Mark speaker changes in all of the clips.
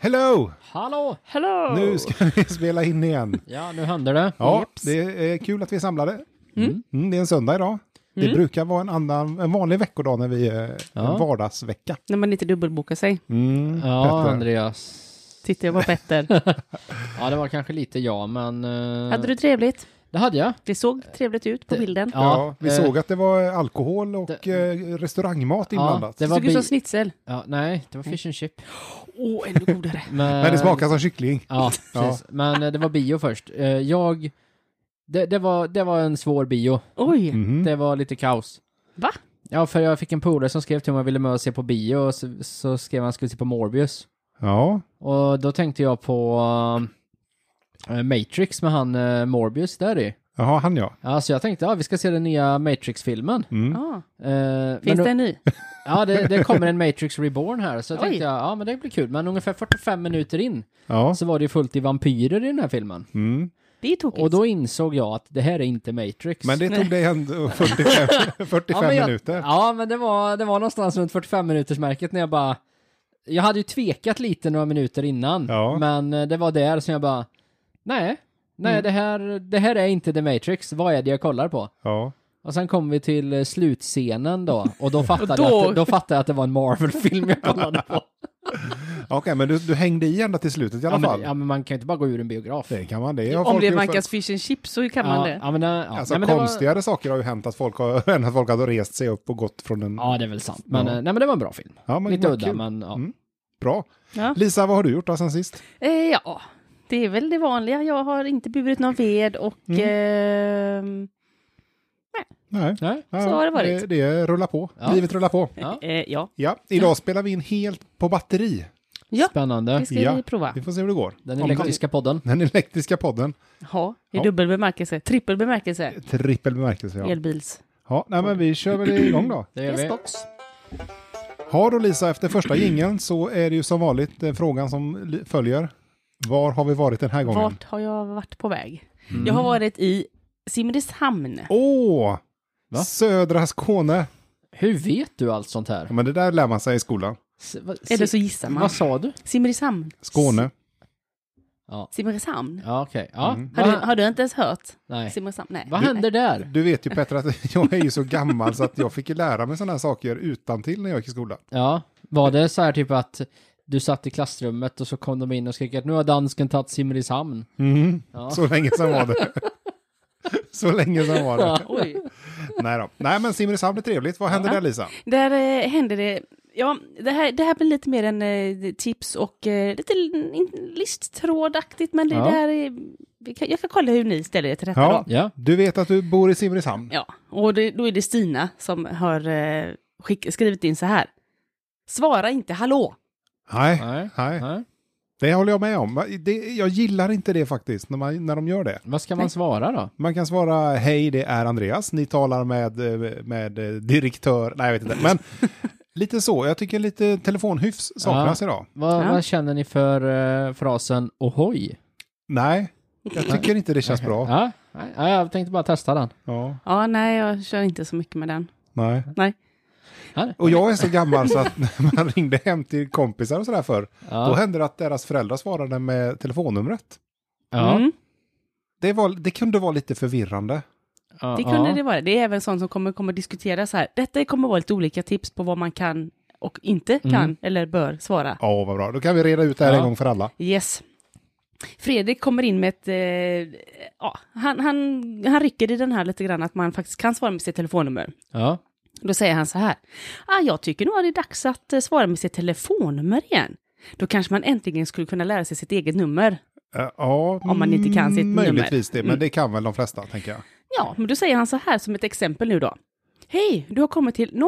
Speaker 1: Hello!
Speaker 2: Hallå!
Speaker 3: Hello!
Speaker 1: Nu ska vi spela in igen.
Speaker 2: Ja, nu händer det.
Speaker 1: Ja,
Speaker 3: Jeps.
Speaker 1: det är kul att vi är samlade. Mm. det är en söndag idag. Det brukar vara en, annan, en vanlig veckodag när vi är en
Speaker 2: Ja.
Speaker 1: vardagsvecka.
Speaker 3: När man inte dubbelbokar sig.
Speaker 1: Mm,
Speaker 2: Ja,
Speaker 1: Petter.
Speaker 2: Andreas.
Speaker 3: Tittar jag på Petter.
Speaker 2: Ja, det var kanske lite jag, men... eh,
Speaker 3: Hade du trevligt?
Speaker 2: Det hade jag.
Speaker 3: Det såg trevligt ut på bilden.
Speaker 1: Ja, vi
Speaker 2: eh,
Speaker 1: såg att det var alkohol och eh, restaurangmat inblandat.
Speaker 3: Det
Speaker 2: det var
Speaker 3: såg ut som
Speaker 2: bi-
Speaker 3: schnitzel.
Speaker 2: Ja, nej, det var fish and chip.
Speaker 3: Åh, oh, ännu godare.
Speaker 2: Men,
Speaker 1: Men det smakar som kyckling.
Speaker 2: Ja, precis. Men eh, det var bio först. Eh, Jag... Det, det, var, det var en svår bio.
Speaker 3: Oj!
Speaker 2: Mm.
Speaker 1: Mhm.
Speaker 2: Det var lite kaos.
Speaker 3: Va?
Speaker 2: Ja, för jag fick en polare som skrev till mig att jag ville med och se på bio, och så, så skrev han att han skulle se på Morbius.
Speaker 1: Ja,
Speaker 2: Och då tänkte jag på eh, Matrix med han eh, Morbius där i.
Speaker 1: jaha, han ja.
Speaker 2: Ja, så Alltså, jag tänkte, ja, vi ska se den nya Matrix-filmen.
Speaker 1: Mm.
Speaker 3: Ah,
Speaker 2: Eh,
Speaker 3: finns
Speaker 2: men,
Speaker 3: det en ny?
Speaker 2: Ja, det, det kommer en Matrix Reborn här, så jag
Speaker 3: Oj.
Speaker 2: tänkte jag, ja men det blir kul. Men ungefär 45 minuter in
Speaker 1: Ja.
Speaker 2: så var det ju fullt i vampyrer i den här filmen.
Speaker 1: Mm.
Speaker 3: Det är tokigt.
Speaker 2: Och då insåg jag att det här är inte Matrix.
Speaker 1: Men det tog dig ändå 45, 45
Speaker 2: men jag,
Speaker 1: minuter.
Speaker 2: Ja, men det var, det var någonstans runt 45 minutersmärket när jag bara... Jag hade ju tvekat lite några minuter innan,
Speaker 1: Ja.
Speaker 2: men eh, det var där som jag bara... Nej, nej
Speaker 1: Mm.
Speaker 2: det, här, det här är inte The Matrix, vad är det jag kollar på?
Speaker 1: Ja.
Speaker 2: Och sen kom vi till eh, slutscenen då, och då fattade,
Speaker 3: då-
Speaker 2: Jag, att, då fattade jag att det var en Marvel-film jag kollade på.
Speaker 1: Okej, men du, du hängde i ända till slutet i alla
Speaker 2: ja, men,
Speaker 1: fall.
Speaker 2: ja, men man kan ju inte bara gå ur en biograf.
Speaker 1: Det kan man, det har
Speaker 3: Om
Speaker 1: folk
Speaker 3: det
Speaker 1: gjort
Speaker 3: vankas fish and chips så kan man det.
Speaker 2: ja, men, eh, ja.
Speaker 1: Alltså
Speaker 2: nej, men det var-
Speaker 1: konstigare saker har ju hänt att folk har, än att folk har rest sig upp och gått från en...
Speaker 2: Ja, det är väl sant. Men,
Speaker 1: Ja.
Speaker 2: eh, nej, men det var en bra film.
Speaker 1: Ja, men
Speaker 2: Lite
Speaker 1: vad
Speaker 2: udda,
Speaker 1: kul.
Speaker 2: men ja.
Speaker 1: Mm. Bra.
Speaker 3: Ja.
Speaker 1: Lisa, vad har du gjort då sen sist?
Speaker 3: Eh, ja, det är väl det vanliga. Jag har inte burit någon ved och... ehm,
Speaker 1: Nej.
Speaker 2: Nej?
Speaker 1: Ja,
Speaker 3: Så har det varit.
Speaker 1: Det, det rullar på.
Speaker 2: Ja.
Speaker 1: Livet rullar på.
Speaker 2: Ja.
Speaker 3: Eh, ja.
Speaker 1: Ja, idag spelar vi in helt på batteri.
Speaker 3: ja,
Speaker 2: Spännande.
Speaker 3: det ska
Speaker 1: ja.
Speaker 3: vi prova.
Speaker 1: Vi får se hur det går.
Speaker 2: Den
Speaker 1: Om
Speaker 2: elektriska podden.
Speaker 1: Den elektriska podden.
Speaker 3: Ja, i
Speaker 1: Ja.
Speaker 3: dubbel bemärkelse. Trippel bemärkelse.
Speaker 1: Trippel bemärkelse, ja.
Speaker 3: Elbils.
Speaker 1: ja. Nej, men vi kör väl igång då.
Speaker 2: Det gör
Speaker 3: Yes,
Speaker 2: vi.
Speaker 3: box.
Speaker 1: Ja då Lisa, efter första jingeln så är det ju som vanligt eh, frågan som li- följer. Var har vi varit den här gången?
Speaker 3: Vart har jag varit på väg? Jag har varit i Simrishamn.
Speaker 1: Åh!
Speaker 2: Va?
Speaker 1: Södra Skåne.
Speaker 2: Hur vet du allt sånt här?
Speaker 1: Ja, men det där lär man sig i skolan.
Speaker 2: S- vad-
Speaker 3: Eller
Speaker 2: si-
Speaker 3: så gissar man.
Speaker 2: Vad sa du?
Speaker 3: Simrishamn.
Speaker 1: Skåne.
Speaker 3: Simrishamn.
Speaker 2: Ja, okej. Ja.
Speaker 1: Mm.
Speaker 3: Har,
Speaker 2: Va-
Speaker 3: du, har du inte ens hört?
Speaker 2: Nej.
Speaker 3: Simrishamn? Nej.
Speaker 2: Vad
Speaker 3: Nej.
Speaker 2: händer där?
Speaker 1: Du vet ju Petter att jag är ju så gammal så att jag fick ju lära mig sådana här saker utan till när jag gick i skolan.
Speaker 2: Ja, var det så här typ att du satt i klassrummet och så kom de in och skrek att nu har dansken tagit Simrishamn. Ja.
Speaker 1: Så länge sedan var det. Så länge sedan var det.
Speaker 3: Oj.
Speaker 1: Nej då. Nej men Simrishamn är trevligt. Vad händer där Lisa?
Speaker 3: Där eh, hände det... Ja, det här, det här blir lite mer en eh, tips och eh, lite l- in- listtrådaktigt, men det
Speaker 2: Ja.
Speaker 3: där är, vi kan, Jag kan kolla hur ni ställer er till detta
Speaker 1: Ja.
Speaker 3: ja. då.
Speaker 2: Ja.
Speaker 1: Du vet att du bor i Simrishamn?
Speaker 3: Ja, och det, då är det Stina som har eh, skick, skrivit in så här. Svara inte hallå.
Speaker 1: Nej.
Speaker 2: Nej.
Speaker 1: Nej.
Speaker 2: Nej.
Speaker 1: Det håller jag med om. Va- Det, jag gillar inte det faktiskt när, man, när de gör det.
Speaker 2: Vad ska man svara då?
Speaker 1: Man kan svara hej det är Andreas. Ni talar med, eh, med eh, direktör. Nej jag vet inte. Men lite så. Jag tycker lite telefonhyfs saknas idag.
Speaker 2: Vad,
Speaker 3: Ja.
Speaker 2: vad känner ni för eh, frasen ohoj?
Speaker 1: Nej. Jag tycker inte det känns bra.
Speaker 2: Ja? Nej, ja, jag tänkte bara testa den.
Speaker 1: Ja.
Speaker 3: Ja, nej, jag kör inte så mycket med den.
Speaker 1: Nej.
Speaker 3: Nej.
Speaker 2: Här.
Speaker 1: Och jag är så gammal så att när man ringde hem till kompisar och sådär förr,
Speaker 2: Ja.
Speaker 1: då hände det att deras föräldrar svarade med telefonnumret.
Speaker 2: Ja.
Speaker 3: Mm.
Speaker 1: Det, var, det kunde vara lite förvirrande.
Speaker 2: Ja,
Speaker 3: Det kunde
Speaker 2: ja.
Speaker 3: det vara. Det är även sånt som kommer, kommer diskuteras här. Detta kommer vara lite olika tips på vad man kan och inte
Speaker 2: Mm.
Speaker 3: kan eller bör svara.
Speaker 1: Ja, vad bra. Då kan vi reda ut det här
Speaker 2: Ja.
Speaker 1: en gång för alla.
Speaker 3: Yes. Fredrik kommer in med ett... Eh, ja, han, han, han rycker i den här lite grann att man faktiskt kan svara med sitt telefonnummer.
Speaker 2: Ja.
Speaker 3: Då säger han så här. Ah, jag tycker nog att det är dags att eh, svara med sitt telefonnummer igen. Då kanske man äntligen skulle kunna lära sig sitt eget nummer.
Speaker 1: Eh, Ja,
Speaker 3: Om man inte kan sitt
Speaker 1: mm,
Speaker 3: nummer.
Speaker 1: Möjligtvis det, men det kan väl de flesta, tänker jag.
Speaker 3: Ja, men då säger han så här som ett exempel nu då. Hej, du har kommit till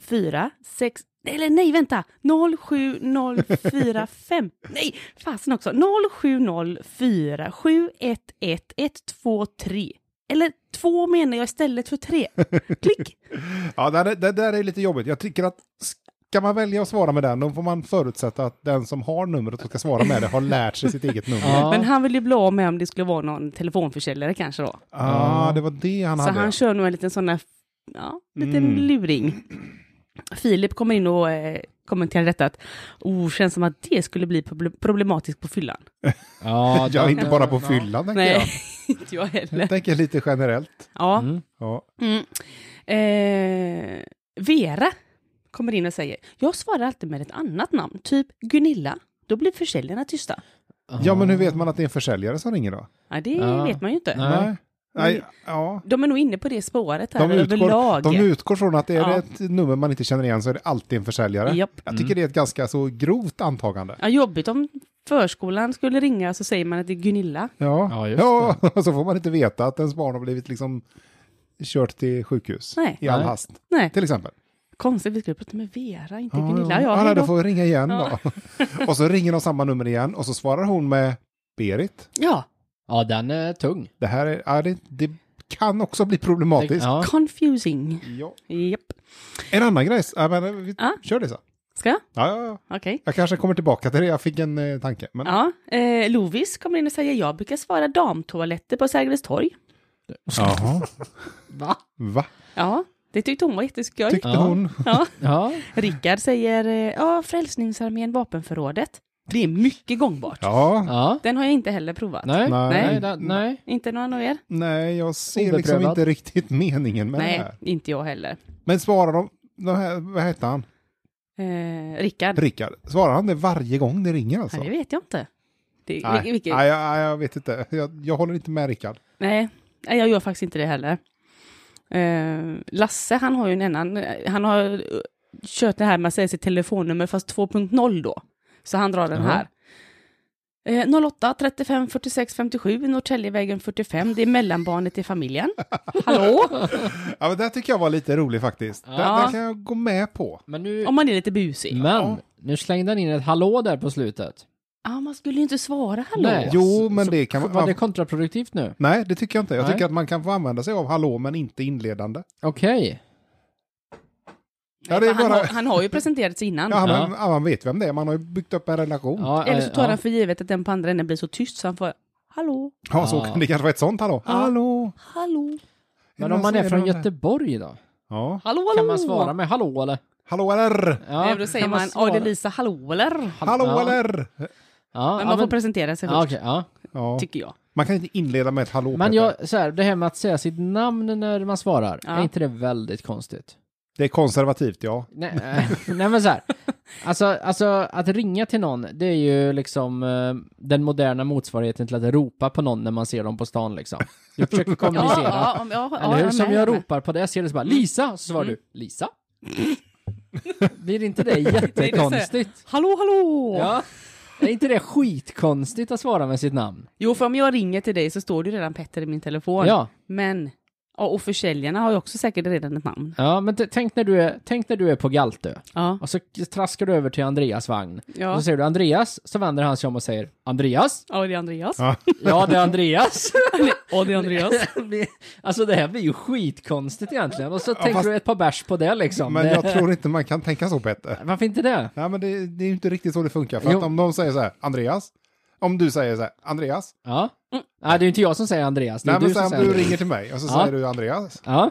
Speaker 3: 07046... Eller nej, vänta! 07045... nej, fasen också! 07047111123. Eller två menar jag istället för tre. Klick!
Speaker 1: Ja, det, det, där är lite jobbigt. Jag tycker att ska man välja att svara med den, då får man förutsätta att den som har numret och ska svara med det har lärt sig sitt eget nummer.
Speaker 2: Ja.
Speaker 3: Men han vill ju bli av med om det skulle vara någon telefonförsäljare kanske då.
Speaker 1: Ah, det var det Mm. han
Speaker 3: så
Speaker 1: hade.
Speaker 3: han kör nog en liten sån där, ja, liten luring. Filip kommer in och eh, kommenterade detta att oh, känns som att det skulle bli proble- problematiskt på fyllan.
Speaker 2: Ja,
Speaker 1: Jag är
Speaker 2: den-
Speaker 1: inte bara på
Speaker 2: ja.
Speaker 1: fyllan, tänker
Speaker 3: Nej,
Speaker 1: jag.
Speaker 3: inte jag heller.
Speaker 1: Jag tänker lite generellt.
Speaker 3: Ja.
Speaker 2: Mm.
Speaker 1: Ja.
Speaker 3: Mm. Eh, Vera kommer in och säger, jag svarar alltid med ett annat namn, typ Gunilla. Då blir försäljarna tysta.
Speaker 1: ja, men hur
Speaker 3: Ah.
Speaker 1: vet man att det är en försäljare som ringer då?
Speaker 3: Ja, det
Speaker 2: Ja.
Speaker 3: vet man ju inte.
Speaker 2: Nej.
Speaker 1: Nej, ja.
Speaker 3: De är nog inne på Mm. det spåret här
Speaker 1: De utgår,
Speaker 3: överlag.
Speaker 1: de utgår från att är
Speaker 3: Ja.
Speaker 1: det ett nummer man inte känner igen så är det alltid en försäljare.
Speaker 3: Japp.
Speaker 1: Jag tycker det är ett ganska så grovt antagande.
Speaker 3: Ja, jobbigt om förskolan skulle ringa så säger man att det är Gunilla.
Speaker 1: Ja,
Speaker 2: Ja, just
Speaker 1: ja och så får man inte veta att ens barn har blivit liksom kört till sjukhus
Speaker 3: Nej.
Speaker 1: i all
Speaker 2: Nej.
Speaker 1: hast,
Speaker 3: Nej,
Speaker 1: till exempel.
Speaker 3: konstigt. Vi skulle prata med Vera, inte
Speaker 1: Ja,
Speaker 3: Gunilla. Ja,
Speaker 1: ja, nej,
Speaker 3: hej
Speaker 1: då
Speaker 3: då.
Speaker 1: får vi ringa igen
Speaker 3: Ja.
Speaker 1: då. Och så ringer de samma nummer igen och så svarar hon med Berit.
Speaker 3: ja,
Speaker 2: Ja, den är tung.
Speaker 1: Det här är, ja, det, det kan också bli problematiskt.
Speaker 2: Ja.
Speaker 3: confusing.
Speaker 1: Ja.
Speaker 3: Japp.
Speaker 1: En annan grej, ja, men, vi
Speaker 3: Ja.
Speaker 1: kör det så.
Speaker 3: Ska jag?
Speaker 1: Ja, ja, ja.
Speaker 3: Okej.
Speaker 1: Jag kanske kommer tillbaka till det, jag fick en eh, tanke. Men,
Speaker 3: Ja, eh, Lovis kommer in och säger jag brukar svara damtoaletter på Sergels torg.
Speaker 1: Jaha.
Speaker 2: Va?
Speaker 1: Va?
Speaker 3: Ja, det tyckte hon var jätteskoj.
Speaker 1: Tyckte
Speaker 2: Ja.
Speaker 1: hon.
Speaker 3: Ja.
Speaker 2: Ja.
Speaker 3: Rickard säger eh, ja, Frälsningsarmén vapenförrådet. Det är mycket gångbart.
Speaker 1: Ja,
Speaker 2: Ja.
Speaker 3: Den har jag inte heller provat.
Speaker 2: Nej.
Speaker 1: Nej.
Speaker 2: Nej. da- Nej.
Speaker 3: Inte någon av er?
Speaker 1: nej, jag ser liksom
Speaker 2: Obeprövad.
Speaker 1: inte riktigt meningen med det
Speaker 3: Nej,
Speaker 1: här.
Speaker 3: inte jag heller.
Speaker 1: Men svarar de, de här, vad heter han?
Speaker 3: Eh, Rickard?
Speaker 1: Rickard. Svarar han det varje gång det ringer alltså?
Speaker 3: Ja, det vet jag inte. Det,
Speaker 1: Nej,
Speaker 3: vil- vilket,
Speaker 1: nej,
Speaker 3: nej.
Speaker 1: jag, nej, jag vet inte. Jag, jag håller inte med Rickard.
Speaker 3: nej, jag gör faktiskt inte det heller. Eh, Lasse, han har ju en annan, han har eh, kört det här med att säga sitt telefonnummer, fast 2.0 då. Så han drar den
Speaker 2: Jaha.
Speaker 3: här. Eh, 08 35 46 57, Norrtäljevägen 45, det är mellanbarnet i familjen. Hallå?
Speaker 1: Ja, men det här tycker jag var lite rolig faktiskt. Det
Speaker 2: Ja.
Speaker 1: där kan jag gå med på.
Speaker 2: Men nu...
Speaker 3: Om man är lite busig.
Speaker 1: Ja.
Speaker 2: Men, nu slängde han in ett hallå där på slutet.
Speaker 3: Ja, man skulle ju inte svara hallå.
Speaker 2: Nej.
Speaker 1: Jo, men
Speaker 2: Så-
Speaker 1: det kan man...
Speaker 2: Var det kontraproduktivt nu?
Speaker 1: Nej, det tycker jag inte. Jag
Speaker 2: Nej.
Speaker 1: tycker att man kan få använda sig av hallå, men inte inledande.
Speaker 2: Okej.
Speaker 1: Ja, det är
Speaker 3: han,
Speaker 1: bara...
Speaker 3: har, han har ju presenterat sig innan.
Speaker 1: Ja, han,
Speaker 2: Ja.
Speaker 1: ja. man vet vem det är. Man har ju byggt upp en relation. Ja,
Speaker 2: Ja,
Speaker 3: Eller så
Speaker 2: ja,
Speaker 3: tar
Speaker 2: ja.
Speaker 3: han för givet att den på andra änden blir så tyst så han får hallå,
Speaker 1: så
Speaker 2: Ja.
Speaker 1: det kanske var ett sånt hallå.
Speaker 3: Ja.
Speaker 1: Hallå!
Speaker 3: hallå,
Speaker 1: Är
Speaker 2: Men
Speaker 1: det
Speaker 2: om
Speaker 1: någon
Speaker 2: man
Speaker 1: som-
Speaker 2: är från
Speaker 1: någon där?
Speaker 2: Göteborg då?
Speaker 1: Ja.
Speaker 3: hallå, hallå.
Speaker 2: Kan man svara med hallå eller?
Speaker 1: Hallå eller?
Speaker 2: Ja,
Speaker 3: Nej, Eh, då säger
Speaker 2: kan
Speaker 3: man,
Speaker 2: svara-
Speaker 3: ja det är Lisa, hallå eller?
Speaker 1: Hallå
Speaker 2: ja.
Speaker 1: eller?
Speaker 2: Ja,
Speaker 3: Men
Speaker 2: ja,
Speaker 3: man får
Speaker 2: men,
Speaker 3: presentera sig
Speaker 2: ja,
Speaker 3: först,
Speaker 2: okej, ja.
Speaker 1: Ja.
Speaker 3: tycker jag.
Speaker 1: Man kan inte inleda med ett hallå,
Speaker 2: men
Speaker 1: Peter.
Speaker 2: jag, så här, det här med att säga sitt namn när man svarar,
Speaker 3: Ja.
Speaker 2: är inte det väldigt konstigt?
Speaker 1: Det är konservativt, ja.
Speaker 2: Nej, eh, nej men så här. Alltså, alltså att ringa till någon, det är ju liksom eh, den moderna motsvarigheten till att ropa på någon när man ser dem på stan liksom. Du försöker
Speaker 3: Ja,
Speaker 2: kommunicera.
Speaker 3: ja, om- ja, ja,
Speaker 2: Eller hur?
Speaker 3: är
Speaker 2: Som
Speaker 3: med,
Speaker 2: jag
Speaker 3: är med.
Speaker 2: ropar på det, jag ser det så bara Lisa, så
Speaker 3: Mm.
Speaker 2: svarar du Lisa. Blir inte det jättekonstigt?
Speaker 3: Hallå, hallå!
Speaker 2: Ja. Är inte det skitkonstigt att svara med sitt namn?
Speaker 3: Jo, för om jag ringer till dig så står du redan Petter i min telefon.
Speaker 2: Ja,
Speaker 3: Men, ja, och försäljarna har ju också säkert redan ett namn.
Speaker 2: ja men t- tänk när, du är, tänk när du är på Galtö
Speaker 3: Ja,
Speaker 2: och så traskar du över till Andreas vagn. Och
Speaker 3: ja.
Speaker 2: så säger du Andreas, så vänder han sig om och säger Andreas?
Speaker 3: ja det är Andreas.
Speaker 1: Ja.
Speaker 2: Ja, det är Andreas.
Speaker 3: Ja, det är Andreas.
Speaker 2: alltså det här blir ju skitkonstigt egentligen. Och så tänker
Speaker 1: fast-
Speaker 2: du ett par bärs på det liksom.
Speaker 1: Men
Speaker 2: Det-
Speaker 1: jag tror inte man kan tänka så, Petter.
Speaker 2: Varför inte det?
Speaker 1: Nej, men det, det är ju inte riktigt så det funkar. För att
Speaker 2: Jo.
Speaker 1: om de säger så här, Andreas. Om du säger så här, Andreas.
Speaker 2: Ja. Nej, det är ju inte jag som säger Andreas, det är
Speaker 1: Nej, men
Speaker 2: du som
Speaker 1: sen
Speaker 2: säger
Speaker 1: du
Speaker 2: Andreas.
Speaker 1: ringer till mig och så
Speaker 2: Ja.
Speaker 1: säger du Andreas.
Speaker 2: Ja,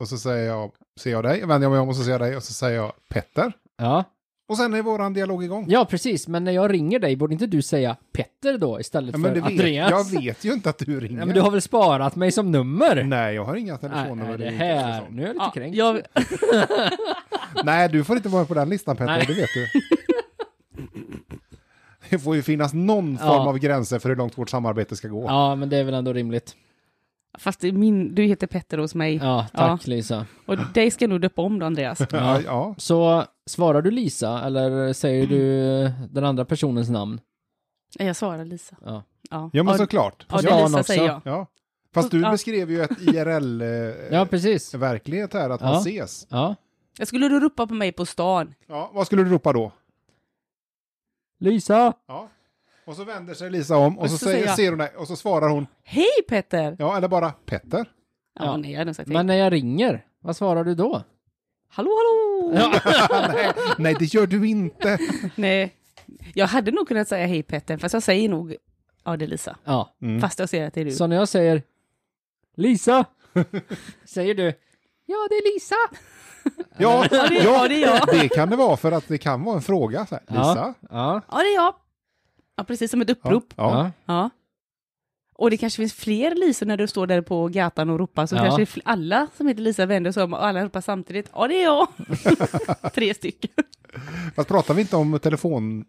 Speaker 1: Och så säger jag, ser jag dig, vänder jag mig om och så ser jag dig och så säger jag Petter.
Speaker 2: ja.
Speaker 1: Och sen är våran dialog igång.
Speaker 2: Ja, precis. Men när jag ringer dig, borde inte du säga Petter då istället
Speaker 1: Ja,
Speaker 2: för
Speaker 1: men det vet,
Speaker 2: Andreas?
Speaker 1: jag vet ju inte att du ringer.
Speaker 2: Nej, men du har väl sparat mig som nummer?
Speaker 1: Nej, jag har inga
Speaker 2: Nej,
Speaker 1: telefonnummer.
Speaker 2: nej, det
Speaker 1: i-
Speaker 2: här.
Speaker 1: sånt.
Speaker 2: Nu är jag lite
Speaker 3: Ja,
Speaker 2: kränkt.
Speaker 3: jag,
Speaker 1: Nej, du får inte vara på den listan Petter,
Speaker 2: Nej.
Speaker 1: det vet du. Det får ju finnas någon form
Speaker 2: Ja.
Speaker 1: av gränser för hur långt vårt samarbete ska gå.
Speaker 2: Ja, men det är väl ändå rimligt.
Speaker 3: Fast det är min, du heter Petter hos mig.
Speaker 2: Ja, tack Lisa.
Speaker 3: Och dig ska jag nog döpa om då, Andreas.
Speaker 1: Ja, ja.
Speaker 2: Så svarar du Lisa eller säger du den andra personens namn?
Speaker 3: Nej, Jag svarar Lisa.
Speaker 2: Ja.
Speaker 3: Ja,
Speaker 1: ja men
Speaker 3: ja,
Speaker 1: såklart.
Speaker 3: ja, det
Speaker 2: Ja,
Speaker 3: är
Speaker 2: Lisa
Speaker 3: Lisa säger
Speaker 2: också.
Speaker 3: jag.
Speaker 1: Ja. Fast du
Speaker 3: Ja.
Speaker 1: beskrev ju ett
Speaker 2: Ja,
Speaker 1: IRL-verklighet
Speaker 2: precis.
Speaker 1: eh, här, att
Speaker 2: Ja.
Speaker 1: man ses.
Speaker 2: Ja.
Speaker 3: Jag skulle du ropa på mig på stan.
Speaker 1: Ja, vad skulle du ropa då?
Speaker 2: Lisa!
Speaker 1: Ja. Och så vänder sig Lisa om och så,
Speaker 3: så säger
Speaker 1: säger,
Speaker 3: jag-
Speaker 1: ser hon dig och så svarar hon
Speaker 3: Hej Petter!
Speaker 1: ja eller bara Petter.
Speaker 3: Ja,
Speaker 2: Ja.
Speaker 3: nej, jag hade nog sagt
Speaker 2: Men
Speaker 3: hej.
Speaker 2: när jag ringer, vad svarar du då?
Speaker 3: Hallå, hallå!
Speaker 1: nej, nej, det gör du inte.
Speaker 3: Nej. Jag hade nog kunnat säga hej Petter, fast jag säger nog ja, det är Lisa.
Speaker 2: Ja.
Speaker 3: Fast jag ser att det är du.
Speaker 2: Mm. Så när jag säger Lisa, säger du Ja, det är Lisa!
Speaker 1: Ja,
Speaker 3: Ja, det- ja, det är jag.
Speaker 1: det kan det vara för att det kan vara en fråga. Så här, Lisa?
Speaker 2: Ja.
Speaker 3: Ja, det är jag. Ja, precis som ett
Speaker 1: Ja,
Speaker 3: upprop.
Speaker 1: ja.
Speaker 2: ja.
Speaker 3: Ja. Och det kanske finns fler Lisor när du står där på gatan och ropar, så
Speaker 2: Ja.
Speaker 3: kanske fl- alla som heter Lisa vänder sig om och alla ropar samtidigt. Ja, det är jag. Tre stycken.
Speaker 1: Fast pratar vi inte om telefon...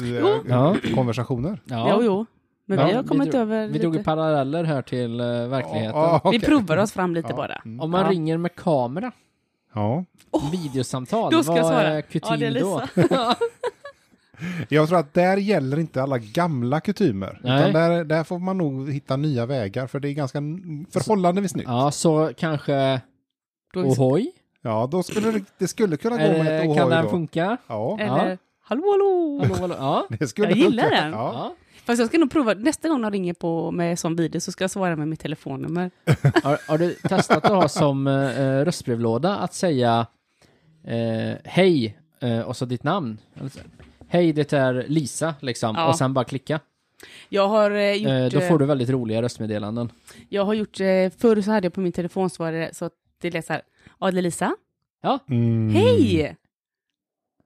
Speaker 1: eh,
Speaker 3: Jo.
Speaker 2: Ja.
Speaker 1: Konversationer.
Speaker 3: Ja. Jo, jo. Men
Speaker 2: Ja,
Speaker 3: vi har kommit
Speaker 2: vi drog,
Speaker 3: över
Speaker 2: Vi drog ju
Speaker 3: lite.
Speaker 2: paralleller här till eh, verkligheten.
Speaker 1: Ja, ah, okej.
Speaker 3: Vi provar oss fram lite
Speaker 1: Ja.
Speaker 3: bara.
Speaker 2: Om man
Speaker 3: Ja.
Speaker 2: ringer med kamera,
Speaker 1: Ja.
Speaker 2: videosamtal,
Speaker 3: Då ska jag
Speaker 2: vad
Speaker 3: svara.
Speaker 2: är
Speaker 3: Ja, det är
Speaker 2: kutym då?
Speaker 3: Lisa.
Speaker 1: Jag tror att där gäller inte alla gamla kutymer.
Speaker 2: Nej.
Speaker 1: Utan där, där får man nog hitta nya vägar för det är ganska n- förhållandevis nytt. Ja,
Speaker 2: Ja, så kanske
Speaker 3: Då-
Speaker 2: ohoj?
Speaker 1: då skulle det, det skulle kunna gå med ett
Speaker 2: Eller, Eh, kan
Speaker 1: ohoj
Speaker 2: den
Speaker 1: då.
Speaker 2: funka?
Speaker 1: Ja,
Speaker 3: Eller,
Speaker 2: Ja.
Speaker 3: hallå, hallå.
Speaker 2: Hallå, hallå. Ja.
Speaker 1: det skulle
Speaker 3: Eh, Jag gillar
Speaker 1: funka.
Speaker 3: den.
Speaker 1: Ja.
Speaker 2: Ja.
Speaker 3: Fast jag ska nog prova, nästa gång de ringer på med sån video så ska jag svara med mitt telefonnummer.
Speaker 2: Har, har du testat att ha som eh, röstbrevlåda att säga eh, hej eh, och så ditt namn? Eller så- Hej, det är Lisa, liksom.
Speaker 3: Ja.
Speaker 2: Och sen bara klicka.
Speaker 3: Jag har eh, gjort,
Speaker 2: Eh, då
Speaker 3: eh,
Speaker 2: får du väldigt roliga röstmeddelanden.
Speaker 3: jag har gjort, eh, förr så hade jag på min telefonsvarare så att det lät så här, ja det är Lisa,
Speaker 1: Mm.
Speaker 3: hej!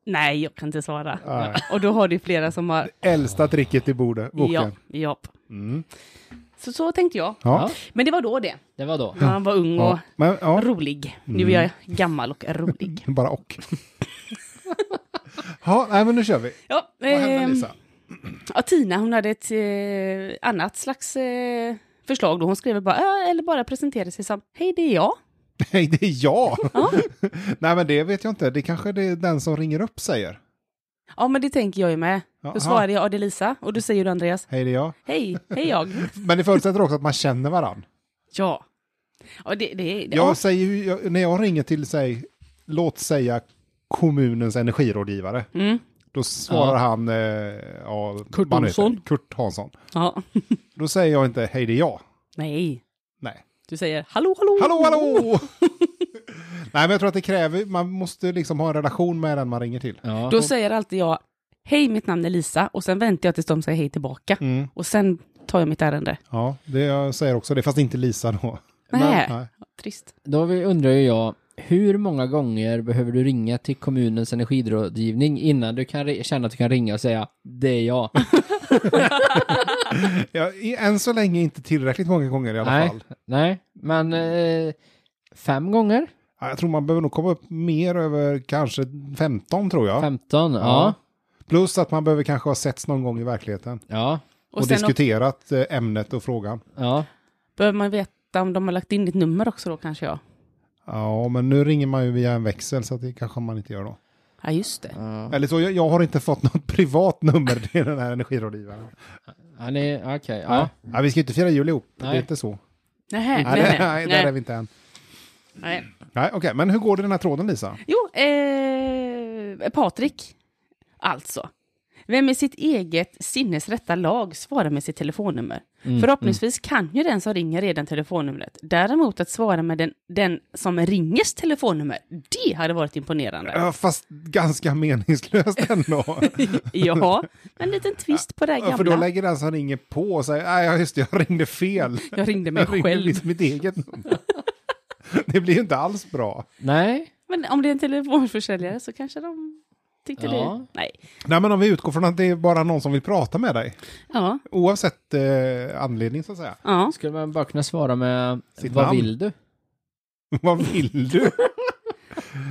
Speaker 3: Nej, jag kan inte svara.
Speaker 1: Nej.
Speaker 3: Och då har du flera som har,
Speaker 1: Äldsta tricket i bordet, boken.
Speaker 3: ja, ja.
Speaker 1: Mm.
Speaker 3: Så, så tänkte jag.
Speaker 1: Ja.
Speaker 3: Men det var då det.
Speaker 2: Det var då.
Speaker 3: Han var ung och
Speaker 1: Ja. Mm. Men, ja.
Speaker 3: rolig. Nu är jag gammal och rolig.
Speaker 1: Bara och. ja, nej, men nu kör vi.
Speaker 3: Ja,
Speaker 1: Vad händer
Speaker 3: ehm,
Speaker 1: Lisa?
Speaker 3: Ja, Tina hon hade ett eh, annat slags eh, förslag då. Hon skrev bara, "Ja, eller bara presenterade sig som, hej det är jag.
Speaker 1: Nej, det är jag! nej, men det vet jag inte. Det kanske det är den som ringer upp säger.
Speaker 3: Ja men det tänker jag ju med.
Speaker 1: Jaha.
Speaker 3: Då svarar jag, ja det är Lisa. Och då säger du Andreas,
Speaker 1: Hej, det är jag.
Speaker 3: hej, hej jag.
Speaker 1: Men det förutsätter också att man känner varann.
Speaker 3: ja. Ja det, det, det, ja.
Speaker 1: Jag säger, ju- jag, när jag ringer till, sig, låt säga kommunens energirådgivare,
Speaker 3: Mm.
Speaker 1: då svarar han, eh, ja,
Speaker 2: Kurt
Speaker 1: vad han heter.
Speaker 2: Olsson.
Speaker 1: Kurt Hansson.
Speaker 3: ja.
Speaker 1: Då säger jag inte, hej det är jag.
Speaker 3: Nej.
Speaker 1: Nej.
Speaker 3: Du säger, hallå hallå.
Speaker 1: Hallå, hallå! Nej, men jag tror att det kräver, man måste liksom ha en relation med den man ringer till.
Speaker 2: Ja.
Speaker 3: Då säger alltid jag, hej mitt namn är Lisa. Och sen väntar jag tills de säger hej tillbaka.
Speaker 1: Mm.
Speaker 3: Och sen tar jag mitt ärende.
Speaker 1: Ja, det jag säger också det, fast inte Lisa då.
Speaker 3: Nej.
Speaker 1: nej.
Speaker 3: Trist.
Speaker 2: Då vi- undrar ju jag, hur många gånger behöver du ringa till kommunens energirådgivning innan du kan ri- känna att du kan ringa och säga det är jag?
Speaker 1: Ja, i- än så länge inte tillräckligt många gånger i alla
Speaker 2: nej,
Speaker 1: fall.
Speaker 2: nej, men eh, fem gånger?
Speaker 1: Ja, Jag tror man behöver nog komma upp mer över kanske 15 tror jag.
Speaker 2: 15? Ja.
Speaker 1: Plus att man behöver kanske ha setts någon gång i verkligheten.
Speaker 2: Ja.
Speaker 1: Och,
Speaker 3: Och, sen också,
Speaker 1: diskuterat eh, ämnet och frågan.
Speaker 2: Ja.
Speaker 3: behöver man veta om de har lagt in ditt nummer också då kanske jag.
Speaker 1: Ja, men nu ringer man ju via en växel så att det kanske man inte gör då.
Speaker 3: Ja just det.
Speaker 2: ja.
Speaker 1: Eller så, jag, jag har inte fått något privat nummer till den här energirådgivaren.
Speaker 2: ja ni- Okej, ja.
Speaker 1: Ja, vi ska ju inte fira jul ihop, det
Speaker 2: Nej.
Speaker 1: är inte så.
Speaker 3: Nähä,
Speaker 1: Nej,
Speaker 3: nej,
Speaker 1: det, nej,
Speaker 3: nej,
Speaker 1: där är vi inte än.
Speaker 3: nej.
Speaker 1: Nej, okej, men hur går det i den här tråden Lisa?
Speaker 3: Jo, eh, Patrik. Alltså. Vem i sitt eget sinnes rätta lag svarar med sitt telefonnummer?
Speaker 2: Mm,
Speaker 3: Förhoppningsvis kan ju den som ringer redan telefonnumret. Däremot att svara med den, den som ringers telefonnummer, det hade varit imponerande.
Speaker 1: Ja, fast ganska meningslöst ändå.
Speaker 3: Ja, en liten twist på det här
Speaker 1: Ja, För då
Speaker 3: gamla.
Speaker 1: lägger den som ringer på och säger, nej just det, jag ringde fel.
Speaker 3: Jag ringde mig
Speaker 1: Jag ringde
Speaker 3: själv.
Speaker 1: visst mitt eget nummer. Det blir ju inte alls bra.
Speaker 2: Nej.
Speaker 3: Men om det är en telefonförsäljare så kanske de tyckte
Speaker 2: Ja.
Speaker 3: det. Nej.
Speaker 1: Nej, men om vi utgår från att det är bara någon som vill prata med dig.
Speaker 3: Ja.
Speaker 1: Oavsett eh, anledning så att säga.
Speaker 3: ja.
Speaker 2: Skulle man bara kunna svara med
Speaker 1: Sitt
Speaker 2: vad
Speaker 1: namn.
Speaker 2: vill du?
Speaker 1: Vad vill du?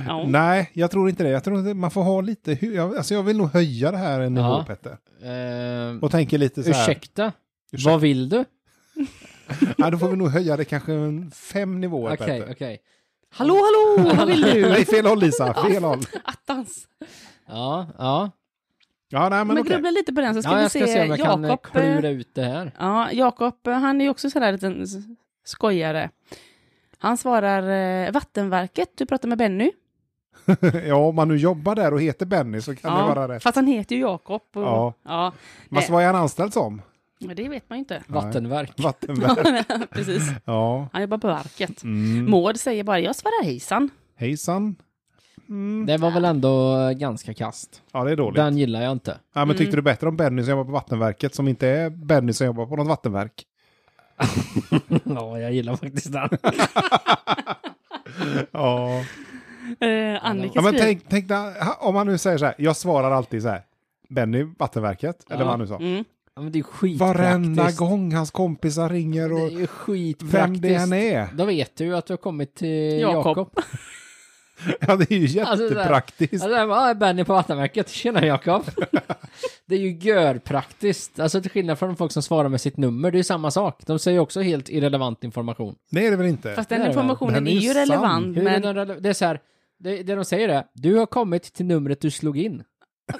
Speaker 3: ja.
Speaker 1: Nej, jag tror inte det. Jag tror inte man får ha lite... hu- jag- Alltså jag vill nog höja det här en nivå,
Speaker 2: Ja.
Speaker 1: Petter.
Speaker 2: Eh,
Speaker 1: Och tänker lite så här...
Speaker 2: ursäkta,
Speaker 1: Ursäkta.
Speaker 2: vad vill du?
Speaker 1: Ja, då får vi nog höja det kanske en fem nivåer,
Speaker 2: Okej,
Speaker 1: Petter.
Speaker 2: okej.
Speaker 3: Hallå, hallå, vad vill du?
Speaker 1: Nej, fel håll Lisa, fel håll.
Speaker 3: Attans.
Speaker 2: Ja, ja.
Speaker 1: Ja, nej men
Speaker 3: Men,
Speaker 1: okej.
Speaker 3: grubbla lite på den så ska
Speaker 2: ja,
Speaker 3: vi
Speaker 2: jag ska
Speaker 3: se,
Speaker 2: se, om jag kan eh,
Speaker 3: Jakob. eh,
Speaker 2: klura ut det här.
Speaker 3: Ja, Jakob, eh, han är ju också sådär liten s- skojare. Han svarar eh, Vattenverket, du pratar med Benny.
Speaker 1: Ja, om man nu jobbar där och heter Benny så kan det vara rätt.
Speaker 3: fast han heter ju Jakob. Och,
Speaker 1: Ja.
Speaker 3: ja. Ja,
Speaker 2: Eh.
Speaker 1: Fast vad är han anställd som?
Speaker 3: men det vet man ju inte.
Speaker 2: Vattenverk.
Speaker 1: Vattenverk.
Speaker 3: Precis,
Speaker 1: Ja.
Speaker 3: han jobbar på verket.
Speaker 1: Mm.
Speaker 3: Maud säger bara, jag svarar hejsan.
Speaker 1: Hejsan. Mm.
Speaker 2: Det var väl ändå eh, ganska kast.
Speaker 1: Ja, det är dåligt.
Speaker 2: Den Mm. gillar jag inte.
Speaker 1: Ja, men tyckte du bättre om Benny som jobbar på Vattenverket som inte är Benny som jobbar på något vattenverk?
Speaker 2: Ja, jag gillar faktiskt den.
Speaker 1: Ja.
Speaker 3: Eh, Annika
Speaker 1: Ja, men
Speaker 3: skriver...
Speaker 1: tänk, tänk när, ha- om han nu säger så här, jag svarar alltid så här, Benny, Vattenverket, eller
Speaker 2: Ja.
Speaker 1: vad han nu sa.
Speaker 3: Mm.
Speaker 2: Ja, men det är skitpraktiskt.
Speaker 1: Varenda gång hans kompisar ringer
Speaker 2: Det
Speaker 1: och
Speaker 2: är ju skitpraktiskt.
Speaker 1: vem det än är.
Speaker 2: Då vet du ju att du har kommit till
Speaker 3: Jakob.
Speaker 2: Jakob.
Speaker 1: Ja, det är ju
Speaker 2: Alltså, så här-
Speaker 1: jättepraktiskt.
Speaker 2: Alltså, det här var Benny på Vattenverket. Tjena Jakob. det är ju görpraktiskt. Alltså till skillnad från folk som svarar med sitt nummer. Det är ju samma sak. De säger ju också helt irrelevant information.
Speaker 1: Nej, det är väl inte.
Speaker 3: Fast den
Speaker 2: Det är det.
Speaker 3: informationen
Speaker 1: Den är ju
Speaker 3: är ju
Speaker 1: sann.
Speaker 3: relevant.
Speaker 2: Hur är
Speaker 3: Men
Speaker 2: det, någon rele- det är så här. Det, det de säger är. Du har kommit till numret du slog in.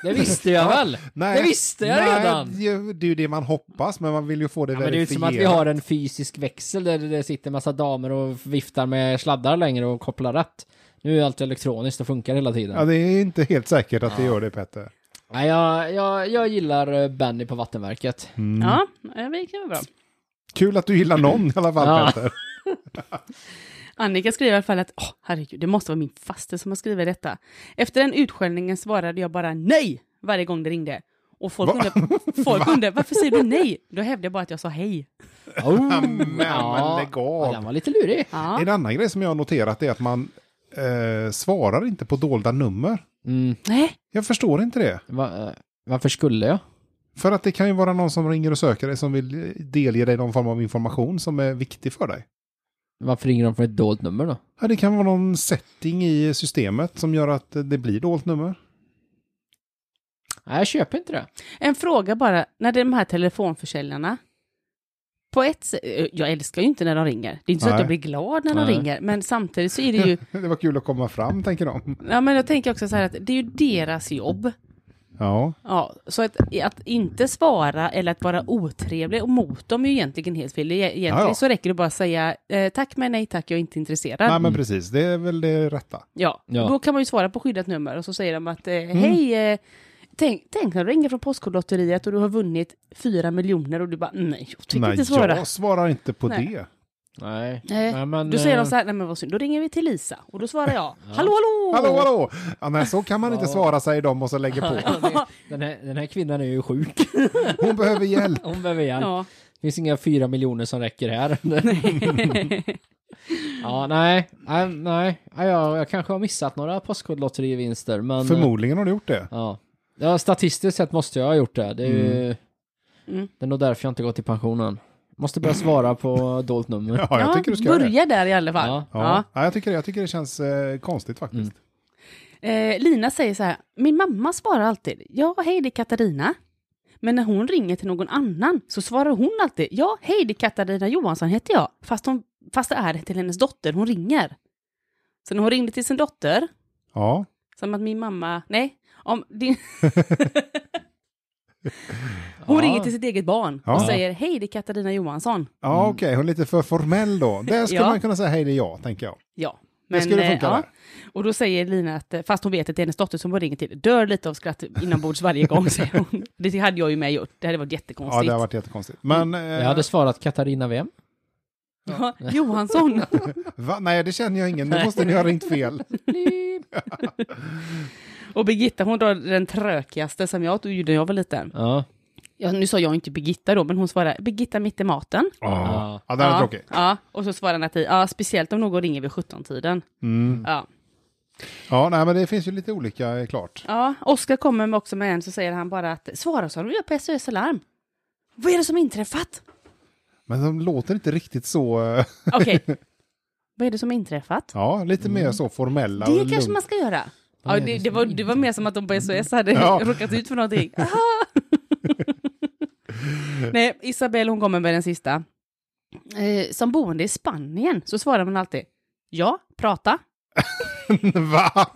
Speaker 2: Det visste jag väl.
Speaker 1: Nej,
Speaker 2: Det visste jag
Speaker 1: nej,
Speaker 2: redan.
Speaker 1: Det, är ju- det är ju det man hoppas, men man vill ju få det
Speaker 2: Ja, men det är ju inte
Speaker 1: verifierat.
Speaker 2: som att vi har en fysisk växel där det sitter en massa damer och viftar med sladdar längre och kopplar rätt. Nu är allt elektroniskt och funkar hela tiden.
Speaker 1: Ja, det är inte helt säkert att det gör det, Petter.
Speaker 2: Nej, jag, jag, jag gillar eh, Benny på Vattenverket.
Speaker 3: ja, eh, det kan vara bra.
Speaker 1: Kul att du gillar någon i alla fall,
Speaker 2: Ja.
Speaker 1: Petter.
Speaker 3: Annika skriver i alla fall att, åh herregud, det måste vara min faste som har skrivit detta. Efter den utskällningen svarade jag bara nej varje gång det ringde. Och
Speaker 1: Va?
Speaker 3: folk undrar, folk undrar varför säger du nej? Då hävdade jag bara att jag sa hej.
Speaker 2: Oh,
Speaker 1: men lägg av.
Speaker 2: ja, den var lite lurig.
Speaker 3: Ja.
Speaker 1: En annan grej som jag har noterat är att man eh, svarar inte på dolda nummer.
Speaker 2: Mm,
Speaker 3: Nej,
Speaker 1: Jag förstår inte det.
Speaker 2: va, eh, varför skulle jag?
Speaker 1: För att det kan ju vara någon som ringer och söker dig som vill eh, delge dig någon form av information som är viktig för dig.
Speaker 2: Varför ringer de från ett dolt nummer då?
Speaker 1: Ja, det kan vara någon setting i systemet som gör att det blir dolt nummer.
Speaker 2: Nej, jag köper inte det.
Speaker 3: en fråga bara, när det är de här telefonförsäljarna, på ett sätt, eh, jag älskar ju inte när de ringer. Det är inte så
Speaker 1: Nej.
Speaker 3: att jag blir glad när de
Speaker 2: Nej.
Speaker 3: ringer, men samtidigt så är det ju,
Speaker 1: Det var kul att komma fram, tänker de.
Speaker 3: ja men jag tänker också så här att det är ju deras jobb.
Speaker 1: Ja,
Speaker 3: Ja, så att, att inte svara eller att vara otrevlig och mot dem är ju egentligen helt fel. E- Egentligen
Speaker 1: Ja, ja.
Speaker 3: så räcker det bara att säga eh, tack men nej tack, jag är inte intresserad.
Speaker 1: nej men precis, det är väl det rätta.
Speaker 3: ja.
Speaker 2: Ja.
Speaker 3: då kan man ju svara på skyddat nummer och så säger de att eh,
Speaker 1: Mm.
Speaker 3: hej, eh, tänk, tänk när du ringer från Postkodlotteriet och du har vunnit fyra miljoner och du bara nej, jag tänker
Speaker 1: nej,
Speaker 3: inte svara.
Speaker 1: jag svarar inte på
Speaker 3: Nej.
Speaker 1: det.
Speaker 2: Nej.
Speaker 3: Nej.
Speaker 2: Nej, men,
Speaker 3: Då säger
Speaker 2: eh,
Speaker 3: de så här, nej men vad synd, då ringer vi till Lisa och då svarar jag, hallå hallå!
Speaker 1: Hallå, hallå! Ja, nej, så kan man inte
Speaker 2: Ja.
Speaker 1: svara, säger de och så lägger på.
Speaker 2: Den här, den här kvinnan är ju sjuk.
Speaker 1: Hon behöver hjälp.
Speaker 2: Hon behöver hjälp.
Speaker 3: Ja.
Speaker 2: Det finns inga fyra miljoner som räcker här. ja, nej. Nej, nej. Ja, jag, jag kanske har missat några Postkodlotterivinster,
Speaker 3: eh,
Speaker 2: men... eh,
Speaker 1: Förmodligen har du gjort det.
Speaker 2: Ja. ja, statistiskt sett måste jag ha gjort det. Det är, ju...
Speaker 3: Mm.
Speaker 2: det är nog därför jag inte gått i pensionen. Måste börja svara på dolt nummer.
Speaker 1: Ja, jag tycker du ska göra det.
Speaker 3: börja där i alla fall.
Speaker 2: Ja.
Speaker 1: Ja.
Speaker 3: Ja. Mm.
Speaker 1: Ja, jag, tycker det. jag tycker det känns eh, konstigt faktiskt.
Speaker 3: Eh, Lina säger så här, min mamma svarar alltid, ja hej det är Katarina. Men när hon ringer till någon annan så svarar hon alltid, ja hej det är Katarina Johansson heter jag. Fast, hon, fast det är till hennes dotter hon ringer. Så när hon ringde till sin dotter,
Speaker 1: Ja.
Speaker 3: som att min mamma, nej, om din, hon
Speaker 2: Ja.
Speaker 3: ringer till sitt eget barn och
Speaker 1: Ja.
Speaker 3: säger, hej det är Katarina Johansson.
Speaker 1: Ja, okej, hon är lite för formell då. Där skulle
Speaker 3: Mm. Ja.
Speaker 1: man kunna säga hej, det är jag, tänker jag.
Speaker 3: Ja.
Speaker 1: Det skulle
Speaker 3: eh,
Speaker 1: funka
Speaker 3: ja.
Speaker 1: där.
Speaker 3: Och då säger Lina att, eh, fast hon vet att det är hennes dotter som hon ringer till, dör lite av skratt inombords varje gång, säger hon. Det hade jag ju med gjort, det hade varit
Speaker 1: Ja,
Speaker 3: jättekonstigt.
Speaker 1: det har varit jättekonstigt.
Speaker 3: Mm.
Speaker 1: Men... Eh,
Speaker 2: Jag hade svarat Katarina Wem.
Speaker 3: Ja, Johansson.
Speaker 1: va? Nej, det känner jag ingen. Nu måste ni ha ringt fel.
Speaker 3: Och Birgitta hon drar den trökigaste som jag gjorde när jag var liten.
Speaker 2: Ja.
Speaker 3: Ja, nu sa jag inte Birgitta då, men hon svarade Birgitta mitt i maten.
Speaker 1: Ja, ja det är
Speaker 3: ja,
Speaker 1: tråkigt.
Speaker 3: Ja, och så svarar Nathalie, ja, speciellt om någon ringer vid 17-tiden.
Speaker 1: Mm.
Speaker 3: Ja.
Speaker 1: Ja, nej, men det finns ju lite olika, är klart.
Speaker 3: ja, Oskar kommer med- också med en, så säger han bara att svara som du gör på SOS Alarm. Vad är det som inträffat?
Speaker 1: Men de låter inte riktigt så... eh,
Speaker 3: Okej. Vad är det som inträffat?
Speaker 1: Ja, lite mer så formella.
Speaker 3: Mm. Det
Speaker 1: och
Speaker 3: kanske
Speaker 1: lugnt.
Speaker 3: man ska göra. Ja, det, det, var, det var mer som att de på SOS hade
Speaker 1: Ja.
Speaker 3: råkat ut för någonting. Aha! Nej, Isabel hon kommer med den sista. Eh, som boende i Spanien så svarar man alltid ja, prata.
Speaker 1: Va?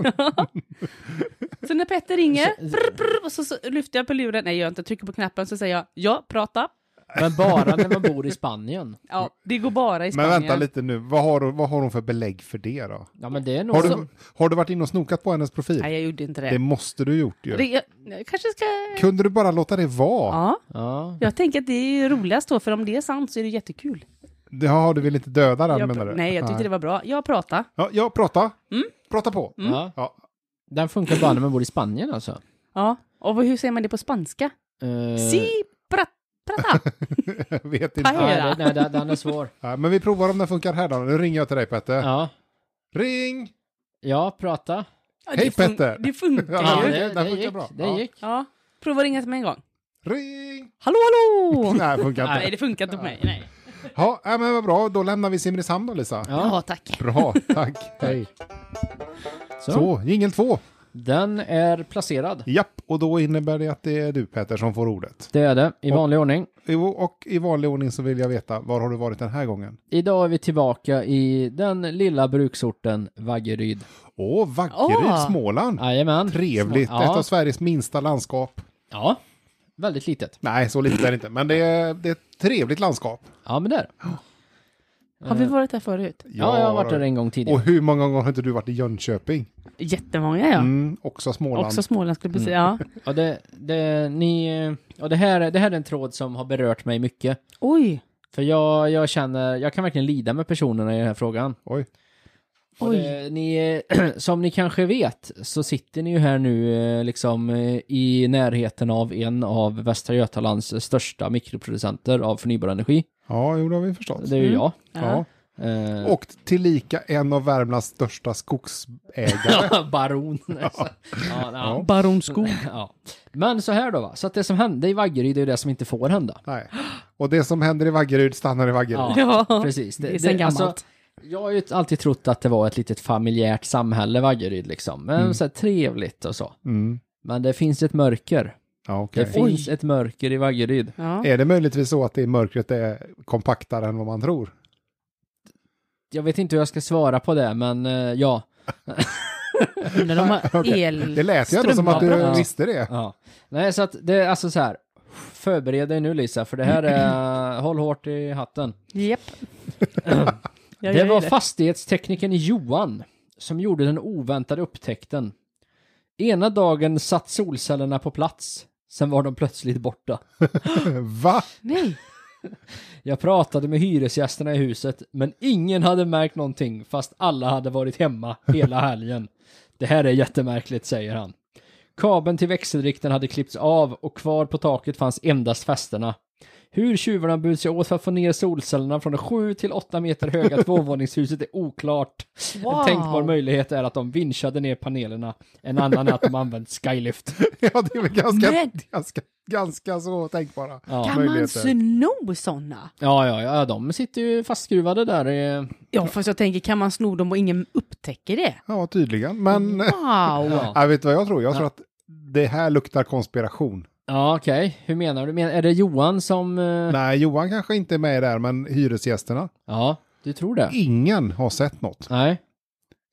Speaker 3: Så när Petter ringer, brr, brr, och så, så lyfter jag på luren, nej jag gör inte, trycker på knappen så säger jag ja, prata.
Speaker 2: Men bara när man bor i Spanien.
Speaker 3: Ja, det går bara i
Speaker 1: Men
Speaker 3: Spanien.
Speaker 1: vänta lite nu, vad har, vad har hon för belägg för det då?
Speaker 2: Ja, men det är nog...
Speaker 1: Har
Speaker 2: så-
Speaker 1: du, har du varit inne och snokat på hennes profil?
Speaker 3: Nej, jag gjorde inte
Speaker 1: Det
Speaker 3: det.
Speaker 1: måste du gjort ju.
Speaker 3: det jag, jag kanske ska...
Speaker 1: Kunde du bara låta det vara?
Speaker 3: Ja,
Speaker 2: Ja.
Speaker 3: jag tänker att det är ju roligast då, för om det är sant så är det jättekul.
Speaker 1: Det- Ja, du vill inte döda den
Speaker 3: Jag,
Speaker 1: menar du?
Speaker 3: nej, jag tyckte det Mm. var bra. Jag prata.
Speaker 1: Ja, ja prata. Prata på.
Speaker 2: ja.
Speaker 1: Ja.
Speaker 2: Den funkar bara när man bor i Spanien alltså.
Speaker 3: Ja, och vad- hur säger man det på spanska?
Speaker 2: Eh,
Speaker 3: Si, prat, prata.
Speaker 1: Jag vet
Speaker 3: Paj.
Speaker 1: inte.
Speaker 2: Nej, det- nej, den den är svår.
Speaker 1: Ja, men vi provar om den funkar här då. Nu ringer jag till dig Petter.
Speaker 2: Ja.
Speaker 1: Ring!
Speaker 2: Ja, prata.
Speaker 3: Ja,
Speaker 1: Hej,
Speaker 3: det fun-
Speaker 1: Petter!
Speaker 3: Det funkar
Speaker 1: Ja,
Speaker 3: ju.
Speaker 1: det- det funkar
Speaker 2: gick.
Speaker 1: bra.
Speaker 2: Det
Speaker 1: Ja.
Speaker 2: gick.
Speaker 3: Ja, prova att ringa till mig en gång.
Speaker 1: Ring!
Speaker 3: Hallå, hallå!
Speaker 1: Nej, funkar
Speaker 3: Nej,
Speaker 1: inte.
Speaker 3: det funkar inte på mig. Nej.
Speaker 1: Ja, ja, men vad bra. Då lämnar vi Simrishamn då, Lisa.
Speaker 2: Ja,
Speaker 3: tack.
Speaker 1: Bra, tack. Hej.
Speaker 2: så.
Speaker 1: Så, jingel två.
Speaker 2: Den är placerad.
Speaker 1: Japp, och då innebär det att det är du Peter som får ordet.
Speaker 2: Det är det, i vanlig ordning.
Speaker 1: Jo, Och i vanlig ordning så vill jag veta, var har du varit den här gången?
Speaker 2: Idag är vi tillbaka i den lilla bruksorten Vaggeryd.
Speaker 1: Åh, Vaggeryd,
Speaker 3: Åh.
Speaker 1: Småland.
Speaker 2: Jajamän.
Speaker 1: Trevligt,
Speaker 2: Ja.
Speaker 1: ett av Sveriges minsta landskap.
Speaker 2: Ja, väldigt litet.
Speaker 1: Nej, så lite är det inte, men det är, det är ett trevligt landskap.
Speaker 2: Ja, men där.
Speaker 3: Har vi varit där förut?
Speaker 2: Ja, jag har varit där en gång
Speaker 1: Och
Speaker 2: tidigare.
Speaker 1: hur många gånger har inte du varit i Jönköping?
Speaker 3: Jättemånga, ja.
Speaker 1: Mm, också Småland.
Speaker 3: Också Småland skulle jag säga. Ja.
Speaker 2: Ja, det, det, ni, och det, här, det här är en tråd som har berört mig mycket.
Speaker 3: Oj,
Speaker 2: För jag, jag känner, jag kan verkligen lida med personerna i den här frågan.
Speaker 1: Oj.
Speaker 2: Och
Speaker 3: Oj.
Speaker 2: det, ni, eh, som ni kanske vet så sitter ni ju här nu eh, liksom eh, i närheten av en av Västra Götalands största mikroproducenter av förnybar energi.
Speaker 1: Ja, jo, det har vi förstått.
Speaker 2: Det är ju
Speaker 3: Mm.
Speaker 2: jag.
Speaker 1: Ja.
Speaker 2: Eh,
Speaker 1: Och tillika en av Värmlands största skogsägare.
Speaker 2: Eh, Baron. ja, ja.
Speaker 3: Baron Skog.
Speaker 2: Ja. Men så här då va, så att det som hände i Vaggeryd är ju det som inte får hända.
Speaker 1: Nej. Och det som händer i Vaggeryd stannar i Vaggeryd.
Speaker 2: Ja,
Speaker 3: Ja,
Speaker 2: precis. alltså,
Speaker 3: det är sen gammalt.
Speaker 2: jag har ju alltid trott att det var ett litet familjärt samhälle, Vaggeryd liksom. Men så här trevligt och så.
Speaker 1: Mm.
Speaker 2: Men det finns ett mörker.
Speaker 1: Ja,
Speaker 2: Det
Speaker 1: okej.
Speaker 2: finns ett mörker i Vaggeryd.
Speaker 3: Ja.
Speaker 1: Är det möjligtvis så att det i mörkret är kompaktare än vad man tror?
Speaker 2: Jag vet inte hur jag ska svara på det, men eh, ja.
Speaker 3: Undrar om de har
Speaker 1: Okej.
Speaker 3: el...
Speaker 1: Det lät ju ändå som att du
Speaker 2: Strömavbrott.
Speaker 1: visste det.
Speaker 2: ja. Nej, så att det är alltså så här. Förbered dig nu Lisa, för det här är... håll hårt i hatten.
Speaker 3: Japp. Jag
Speaker 2: det
Speaker 3: gör ju
Speaker 2: var fastighetsteknikern Johan som gjorde den oväntade upptäckten. Ena dagen satt solcellerna på plats, sen var de plötsligt borta.
Speaker 1: Va?
Speaker 3: Nej.
Speaker 2: Jag pratade med hyresgästerna i huset, men ingen hade märkt någonting fast alla hade varit hemma hela helgen. Det här är jättemärkligt, säger han. Kabeln till växelriktaren hade klippts av och kvar på taket fanns endast fästena. Hur tjuvarna burit sig åt för att få ner solcellerna från det 7 till 8 meter höga tvåvåningshuset är oklart. En
Speaker 3: Wow.
Speaker 2: tänkbar möjlighet är att de vinschade ner panelerna, en annan är att de använt skylift.
Speaker 1: Ja, det är väl ganska,
Speaker 3: Men-
Speaker 1: ganska, ganska så tänkbara
Speaker 2: Ja.
Speaker 3: Kan man
Speaker 1: möjligheter.
Speaker 3: sno sådana?
Speaker 2: Ja, ja, ja, de sitter ju fastskruvade där. i-
Speaker 3: Ja, fast jag tänker, kan man sno dem och ingen upptäcker det?
Speaker 1: Ja, tydligen. Men
Speaker 3: Wow!
Speaker 2: Ja.
Speaker 1: jag vet du vad jag tror? Jag tror att det här luktar konspiration.
Speaker 2: Ja, okej. Hur menar du? Men, är det Johan som... eh,
Speaker 1: Nej, Johan kanske inte är med där, men hyresgästerna.
Speaker 2: Ja, du tror det?
Speaker 1: Ingen har sett något.
Speaker 2: Nej.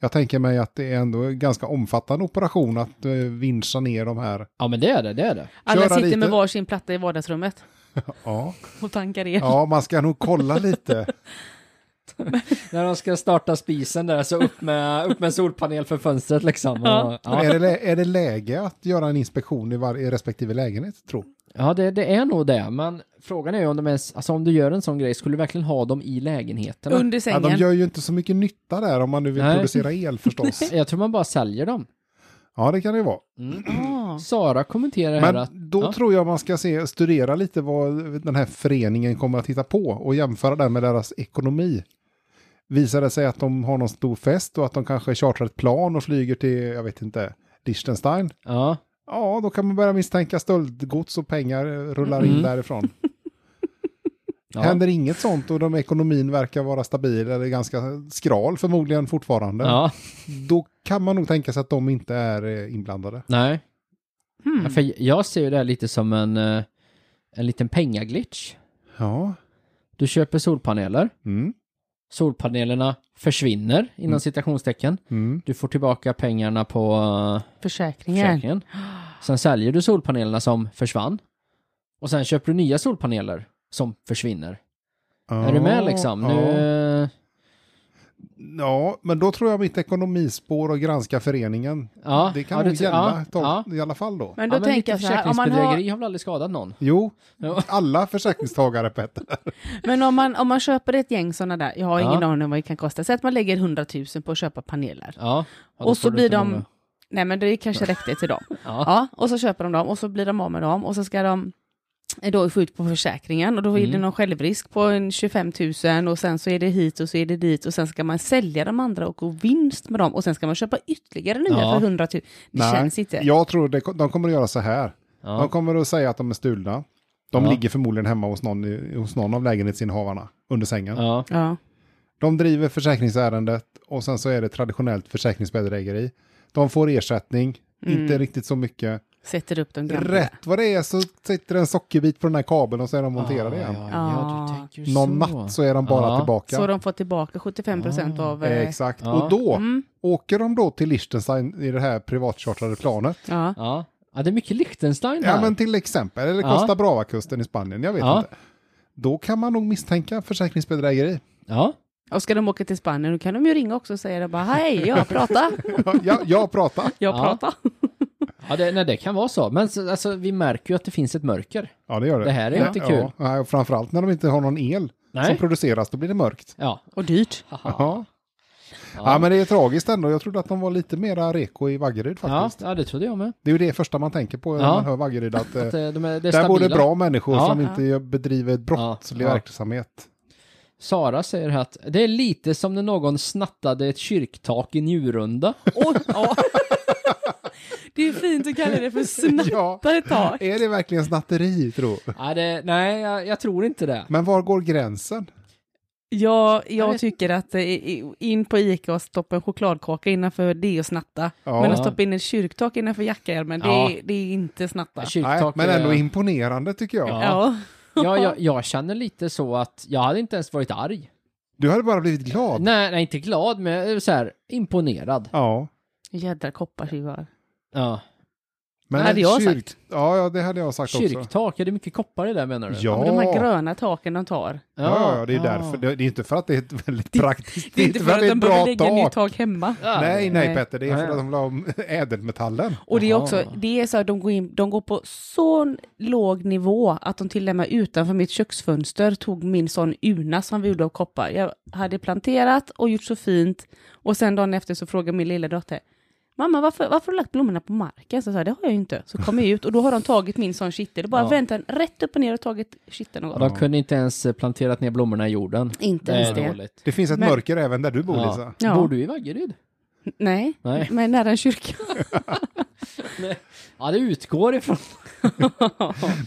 Speaker 1: Jag tänker mig att det är ändå en ganska omfattande operation att eh, vinscha ner de här.
Speaker 2: Ja, men det är det, det är det.
Speaker 3: Alla
Speaker 1: Köra
Speaker 3: sitter
Speaker 1: lite.
Speaker 3: med varsin platta i vardagsrummet
Speaker 1: Ja.
Speaker 3: och tankar el.
Speaker 1: ja, man ska nog kolla lite.
Speaker 2: När de ska starta spisen där, så upp med, upp med solpanel för fönstret liksom. Ja, ja.
Speaker 1: Är, det, lä- är det läge att göra en inspektion i, var, i respektive lägenhet, tror
Speaker 2: ja det, det är nog det, men frågan är ju om de ens, alltså om du gör en sån grej, skulle du verkligen ha dem i lägenheterna?
Speaker 3: Under
Speaker 1: ja,
Speaker 3: sängen.
Speaker 1: De gör ju inte så mycket nytta där om man nu vill
Speaker 2: Nej.
Speaker 1: producera el förstås.
Speaker 2: Jag tror man bara säljer dem.
Speaker 1: Ja, det kan det ju vara.
Speaker 3: Ah.
Speaker 2: Sara kommenterar här att...
Speaker 1: Men då
Speaker 2: ja.
Speaker 1: tror jag man ska se, studera lite vad den här föreningen kommer att hitta på och jämföra det med deras ekonomi. Visar det sig att de har någon stor fest och att de kanske chartrar ett plan och flyger till, jag vet inte, Liechtenstein.
Speaker 2: Ja,
Speaker 1: Ja, då kan man börja misstänka stöldgods och pengar eh, rullar in
Speaker 2: Mm.
Speaker 1: därifrån.
Speaker 2: ja.
Speaker 1: Händer inget sånt och de ekonomin verkar vara stabil eller ganska skral förmodligen fortfarande.
Speaker 2: Ja,
Speaker 1: Då kan man nog tänka sig att de inte är eh, inblandade.
Speaker 2: nej.
Speaker 3: Hmm.
Speaker 2: För jag ser ju det här lite som en, eh, en liten pengaglitch.
Speaker 1: Ja.
Speaker 2: Du köper solpaneler,
Speaker 1: Mm.
Speaker 2: solpanelerna försvinner inom citationstecken.
Speaker 1: Mm.
Speaker 2: Du får tillbaka pengarna på eh,
Speaker 3: Försäkringen.
Speaker 2: försäkringen. Sen säljer du solpanelerna som försvann. Och sen köper du nya solpaneler som försvinner. Är du med liksom?
Speaker 1: Ja.
Speaker 2: Nu,
Speaker 1: Ja, men då tror jag mitt ekonomispår och granska föreningen.
Speaker 2: ja,
Speaker 1: det kan
Speaker 2: ja,
Speaker 1: nog
Speaker 2: du-
Speaker 1: gälla
Speaker 2: ja, ja.
Speaker 1: tol- i alla fall då.
Speaker 2: Men
Speaker 3: Men då
Speaker 2: då ja, men
Speaker 3: tänker
Speaker 2: lite
Speaker 3: jag så här, om man, har,
Speaker 2: försäkringsbedrägeri har väl aldrig skadat någon?
Speaker 1: Jo,
Speaker 2: Ja.
Speaker 1: alla försäkringstagare Petter.
Speaker 3: men om, man, om man köper ett gäng sådana där, jag har
Speaker 2: Ja.
Speaker 3: ingen aning om vad det kan kosta, säg att man lägger 100 000 på att köpa paneler.
Speaker 2: Ja. Ja, då
Speaker 3: och
Speaker 2: får
Speaker 3: så
Speaker 2: du
Speaker 3: blir
Speaker 2: inte
Speaker 3: de,
Speaker 2: många.
Speaker 3: nej men det kanske räckte till dem.
Speaker 2: Ja.
Speaker 3: Ja, och så köper de dem och så blir de av med dem och så ska de då få ut på försäkringen och då är det
Speaker 2: Mm.
Speaker 3: någon självrisk på en 25 000 och sen så är det hit och så är det dit och sen ska man sälja de andra och gå vinst med dem och sen ska man köpa ytterligare nya
Speaker 2: Ja.
Speaker 3: för 100 000. Det
Speaker 1: Nej,
Speaker 3: känns inte.
Speaker 1: Jag tror det, de kommer att göra så här. De
Speaker 2: Ja.
Speaker 1: kommer att säga att de är stulna. De
Speaker 2: Ja.
Speaker 1: ligger förmodligen hemma hos någon, i- hos någon av lägenhetsinnehavarna under sängen.
Speaker 2: Ja.
Speaker 3: Ja.
Speaker 1: De driver försäkringsärendet och sen så är det traditionellt försäkringsbedrägeri. De får ersättning,
Speaker 3: Mm.
Speaker 1: inte riktigt så mycket.
Speaker 3: Sätter upp de gamla.
Speaker 1: Rätt vad det är så sitter en sockerbit på den här kabeln och så är de monterade
Speaker 2: Ah,
Speaker 1: igen.
Speaker 2: Ja,
Speaker 3: Ja.
Speaker 2: ja, du tänker
Speaker 1: Någon
Speaker 2: så.
Speaker 1: natt så är de bara
Speaker 2: Ja.
Speaker 1: tillbaka.
Speaker 3: Så de får tillbaka 75 procent
Speaker 2: Ah.
Speaker 3: av...
Speaker 1: Eh,
Speaker 3: eh,
Speaker 1: Exakt,
Speaker 2: Ja.
Speaker 1: och då
Speaker 3: Mm,
Speaker 1: åker de då till Liechtenstein i det här privatchartrade planet.
Speaker 3: ja.
Speaker 2: Ja. ja, det är mycket Liechtenstein här.
Speaker 1: Ja men till exempel, eller
Speaker 2: Ja.
Speaker 1: Costa Brava-kusten i Spanien, jag vet
Speaker 2: Ja.
Speaker 1: inte. Då kan man nog misstänka försäkringsbedrägeri.
Speaker 2: ja.
Speaker 3: Och ska de åka till Spanien då kan de ju ringa också och säga det bara hej, jag pratar,
Speaker 1: jag, jag pratar.
Speaker 3: jag
Speaker 2: Ja.
Speaker 3: pratar.
Speaker 2: ja det, nej, det kan vara så. Men så- alltså, vi märker ju att det finns ett mörker.
Speaker 1: Ja det gör det.
Speaker 2: Det här är
Speaker 1: ja,
Speaker 2: inte kul.
Speaker 1: Ja, och framförallt när de inte har någon el som
Speaker 2: Nej.
Speaker 1: produceras, då blir det mörkt.
Speaker 2: Ja.
Speaker 3: Och dyrt.
Speaker 1: Ja. ja men det är tragiskt ändå, jag trodde att de var lite mera reko i Vaggeryd
Speaker 2: Ja,
Speaker 1: faktiskt.
Speaker 2: ja, det trodde jag med.
Speaker 1: Det är ju det första man tänker på när
Speaker 2: Ja.
Speaker 1: man hör Vaggeryd, att, eh,
Speaker 2: Att, eh, de är, det är
Speaker 1: där bor det
Speaker 2: stabila.
Speaker 1: bra människor
Speaker 2: Ja.
Speaker 1: som inte gör- bedriver brottslig
Speaker 2: Ja.
Speaker 1: verksamhet.
Speaker 2: Sara säger här att det är lite som när någon snattade ett kyrktak i Njurunda.
Speaker 3: Oj, ja. Det är fint att kalla det för snatta
Speaker 1: Ja.
Speaker 3: ett tag.
Speaker 1: Är det verkligen snatteri, tror
Speaker 2: nej, det, nej jag, jag tror inte det.
Speaker 1: Men var går gränsen?
Speaker 3: Ja,
Speaker 2: Jag
Speaker 3: jag
Speaker 2: vet-
Speaker 3: tycker att eh, i- in på Ica och stoppa en chokladkaka innanför det och snatta.
Speaker 1: Ja.
Speaker 3: Men att stoppa in ett kyrktak innanför jackaärmen, det,
Speaker 2: Ja.
Speaker 3: är- det är inte snatta.
Speaker 1: Nej,
Speaker 2: Kyrktak
Speaker 1: men
Speaker 2: är-
Speaker 1: ändå imponerande tycker jag.
Speaker 2: Ja.
Speaker 3: Ja.
Speaker 2: ja, jag, jag känner lite så att jag hade inte ens varit arg.
Speaker 1: Du hade bara blivit glad.
Speaker 2: Nej, nej inte glad, men jag är så här imponerad.
Speaker 1: Ja.
Speaker 3: Jädra koppartjuvar.
Speaker 2: Ja.
Speaker 1: Men
Speaker 3: Det hade
Speaker 1: ett
Speaker 3: jag sagt.
Speaker 1: Ja, ja, det hade jag sagt också.
Speaker 2: Kyrktak, är det mycket koppar i det menar du?
Speaker 1: Ja.
Speaker 3: De här gröna taken de tar.
Speaker 1: Ja, ja, det är
Speaker 2: Ah.
Speaker 1: därför. Det det är inte för att det är ett väldigt praktiskt.
Speaker 3: Det är inte för att de behöver lägga nytt tak hemma.
Speaker 2: Ja.
Speaker 1: Nej, nej
Speaker 3: Nej.
Speaker 1: Petter, det är för
Speaker 2: Nej.
Speaker 1: att de la om ädelmetallen.
Speaker 3: Och det är
Speaker 2: Jaha.
Speaker 3: också, det är så att de går, in, de går på så låg nivå att de till och med utanför mitt köksfönster tog min sån urna som vi gjorde av koppar. Jag hade planterat och gjort så fint och sen dagen efter så frågade min lilla dotter Mamma, varför, varför har du lagt blommorna på marken? Så jag sa, det har jag ju inte. Så kom jag ut och då har de tagit min sån kittel och bara
Speaker 2: Ja.
Speaker 3: vänt den rätt upp och ner och tagit kitteln och
Speaker 2: Ja,
Speaker 3: gått.
Speaker 2: De kunde inte ens eh, planterat ner blommorna i jorden.
Speaker 3: Inte
Speaker 2: Det
Speaker 3: ens
Speaker 2: är
Speaker 3: det.
Speaker 2: dåligt.
Speaker 1: Det finns ett
Speaker 3: Men-
Speaker 1: mörker även där du bor,
Speaker 2: Ja.
Speaker 1: Lisa.
Speaker 3: Ja.
Speaker 2: Bor du i Vaggeryd?
Speaker 3: Nej,
Speaker 2: Nej.
Speaker 3: men nära en kyrka.
Speaker 2: Ja, det utgår ifrån.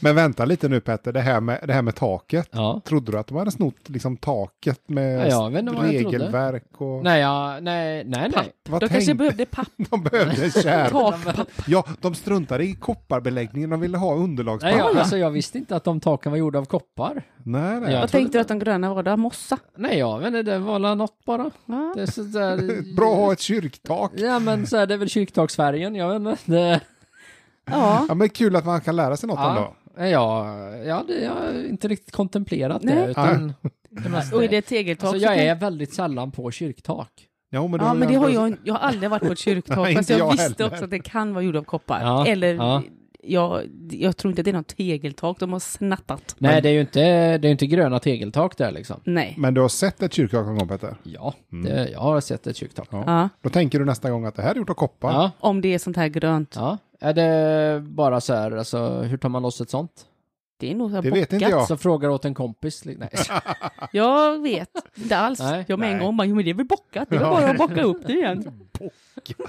Speaker 1: Men vänta lite nu Petter, det här med, det här med taket.
Speaker 2: Ja.
Speaker 1: Trodde du att de hade snott liksom taket med
Speaker 2: Ja, jag vet inte vad jag trodde.
Speaker 1: regelverk och...
Speaker 2: Nej, ja, nej, nej, nej.
Speaker 1: Vad
Speaker 3: de kanske
Speaker 1: tänkte
Speaker 3: behövde papp,
Speaker 1: de behövde? Kär.
Speaker 3: takpapp.
Speaker 1: Ja, de struntade i kopparbeläggningen, de ville ha underlagspapper.
Speaker 2: nej jag, alltså, jag visste inte att de taken var gjorda av koppar.
Speaker 1: Nej, nej.
Speaker 2: Ja.
Speaker 3: Vad tänkte du att de gröna var då? Mossa?
Speaker 2: Nej, jag vet inte, det var väl något bara.
Speaker 3: Ja.
Speaker 2: Det är så där...
Speaker 1: Bra att ha ett kyrktak.
Speaker 2: Ja, men så här, det är väl kyrktaksfärgen, jag vet inte. Det...
Speaker 3: ja.
Speaker 1: Ja, men kul att man kan lära sig något ändå.
Speaker 2: Ja, ja, ja, det, jag har inte riktigt kontemplerat det.
Speaker 3: Nej.
Speaker 2: Utan, det mesta-
Speaker 3: Och är det ett tegeltak?
Speaker 2: alltså,
Speaker 3: så
Speaker 2: jag
Speaker 3: kan-
Speaker 2: är väldigt sällan på kyrktak.
Speaker 1: Ja, men,
Speaker 3: Ja, men det har jag, jag har aldrig varit på ett
Speaker 1: Nej,
Speaker 3: kyrktak, fast
Speaker 1: inte
Speaker 3: jag,
Speaker 1: jag
Speaker 3: visste
Speaker 1: heller.
Speaker 3: också att det kan vara gjord av koppar.
Speaker 2: Ja,
Speaker 3: Eller,
Speaker 2: ja.
Speaker 3: jag, jag tror inte att det är något tegeltak, de har snattat.
Speaker 2: Nej, det är ju inte, det är ju inte gröna tegeltak där liksom.
Speaker 3: Nej.
Speaker 1: Men du har sett ett kyrktak någon gång, Petter?
Speaker 2: Ja, det, jag har sett ett kyrktak.
Speaker 1: Ja.
Speaker 3: Ja.
Speaker 1: Då tänker du nästa gång att det här är gjort av koppar.
Speaker 2: Ja,
Speaker 3: Om det är sånt här grönt.
Speaker 2: ja. Är det bara så här, alltså hur tar man loss ett sånt?
Speaker 3: Det är nog så här
Speaker 1: Det vet inte
Speaker 3: bockat.
Speaker 1: Ja.
Speaker 2: Så frågar åt en kompis. li- Nej.
Speaker 3: Jag vet inte alls.
Speaker 2: Nej.
Speaker 3: jag med en
Speaker 1: Nej.
Speaker 3: gång bara, jo men det är väl bockat, det är väl
Speaker 1: Ja.
Speaker 3: bara att bocka upp det igen.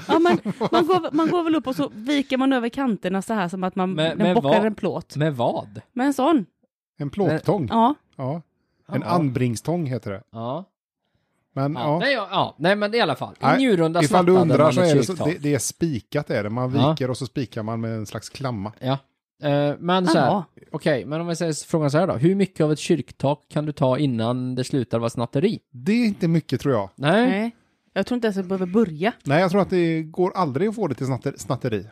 Speaker 3: Ja, man, man, går, man går väl upp och så viker man över kanterna så här som att man
Speaker 2: Men-
Speaker 3: men,
Speaker 2: men
Speaker 3: bockar
Speaker 2: vad?
Speaker 3: en plåt.
Speaker 2: Med vad?
Speaker 3: Med en sån.
Speaker 1: En plåttång.
Speaker 3: Ja.
Speaker 1: Ja. En
Speaker 2: Ja.
Speaker 1: anbringstång heter det.
Speaker 2: Ja.
Speaker 1: Men
Speaker 2: Ja.
Speaker 1: ja,
Speaker 2: Nej, ja, ja. Nej, men i alla fall. I
Speaker 1: Nej,
Speaker 2: Njurunda
Speaker 1: ifall du
Speaker 2: snattade
Speaker 1: undrar
Speaker 2: man
Speaker 1: så
Speaker 2: ett
Speaker 1: är det, så,
Speaker 2: kyrktak.
Speaker 1: det, det är spikat är det. Man
Speaker 2: Ja.
Speaker 1: viker och så spikar man med en slags klamma.
Speaker 2: Ja. Eh, men så här,
Speaker 3: Jaha.
Speaker 2: okej, men om jag säger frågan så här då. Hur mycket av ett kyrktak kan du ta innan det slutar vara snatteri?
Speaker 1: Det är inte mycket tror jag.
Speaker 2: Nej.
Speaker 3: Nej. Jag tror inte ens jag behöver börja.
Speaker 1: Nej, jag tror att det går aldrig att få det till snatter, snatteri.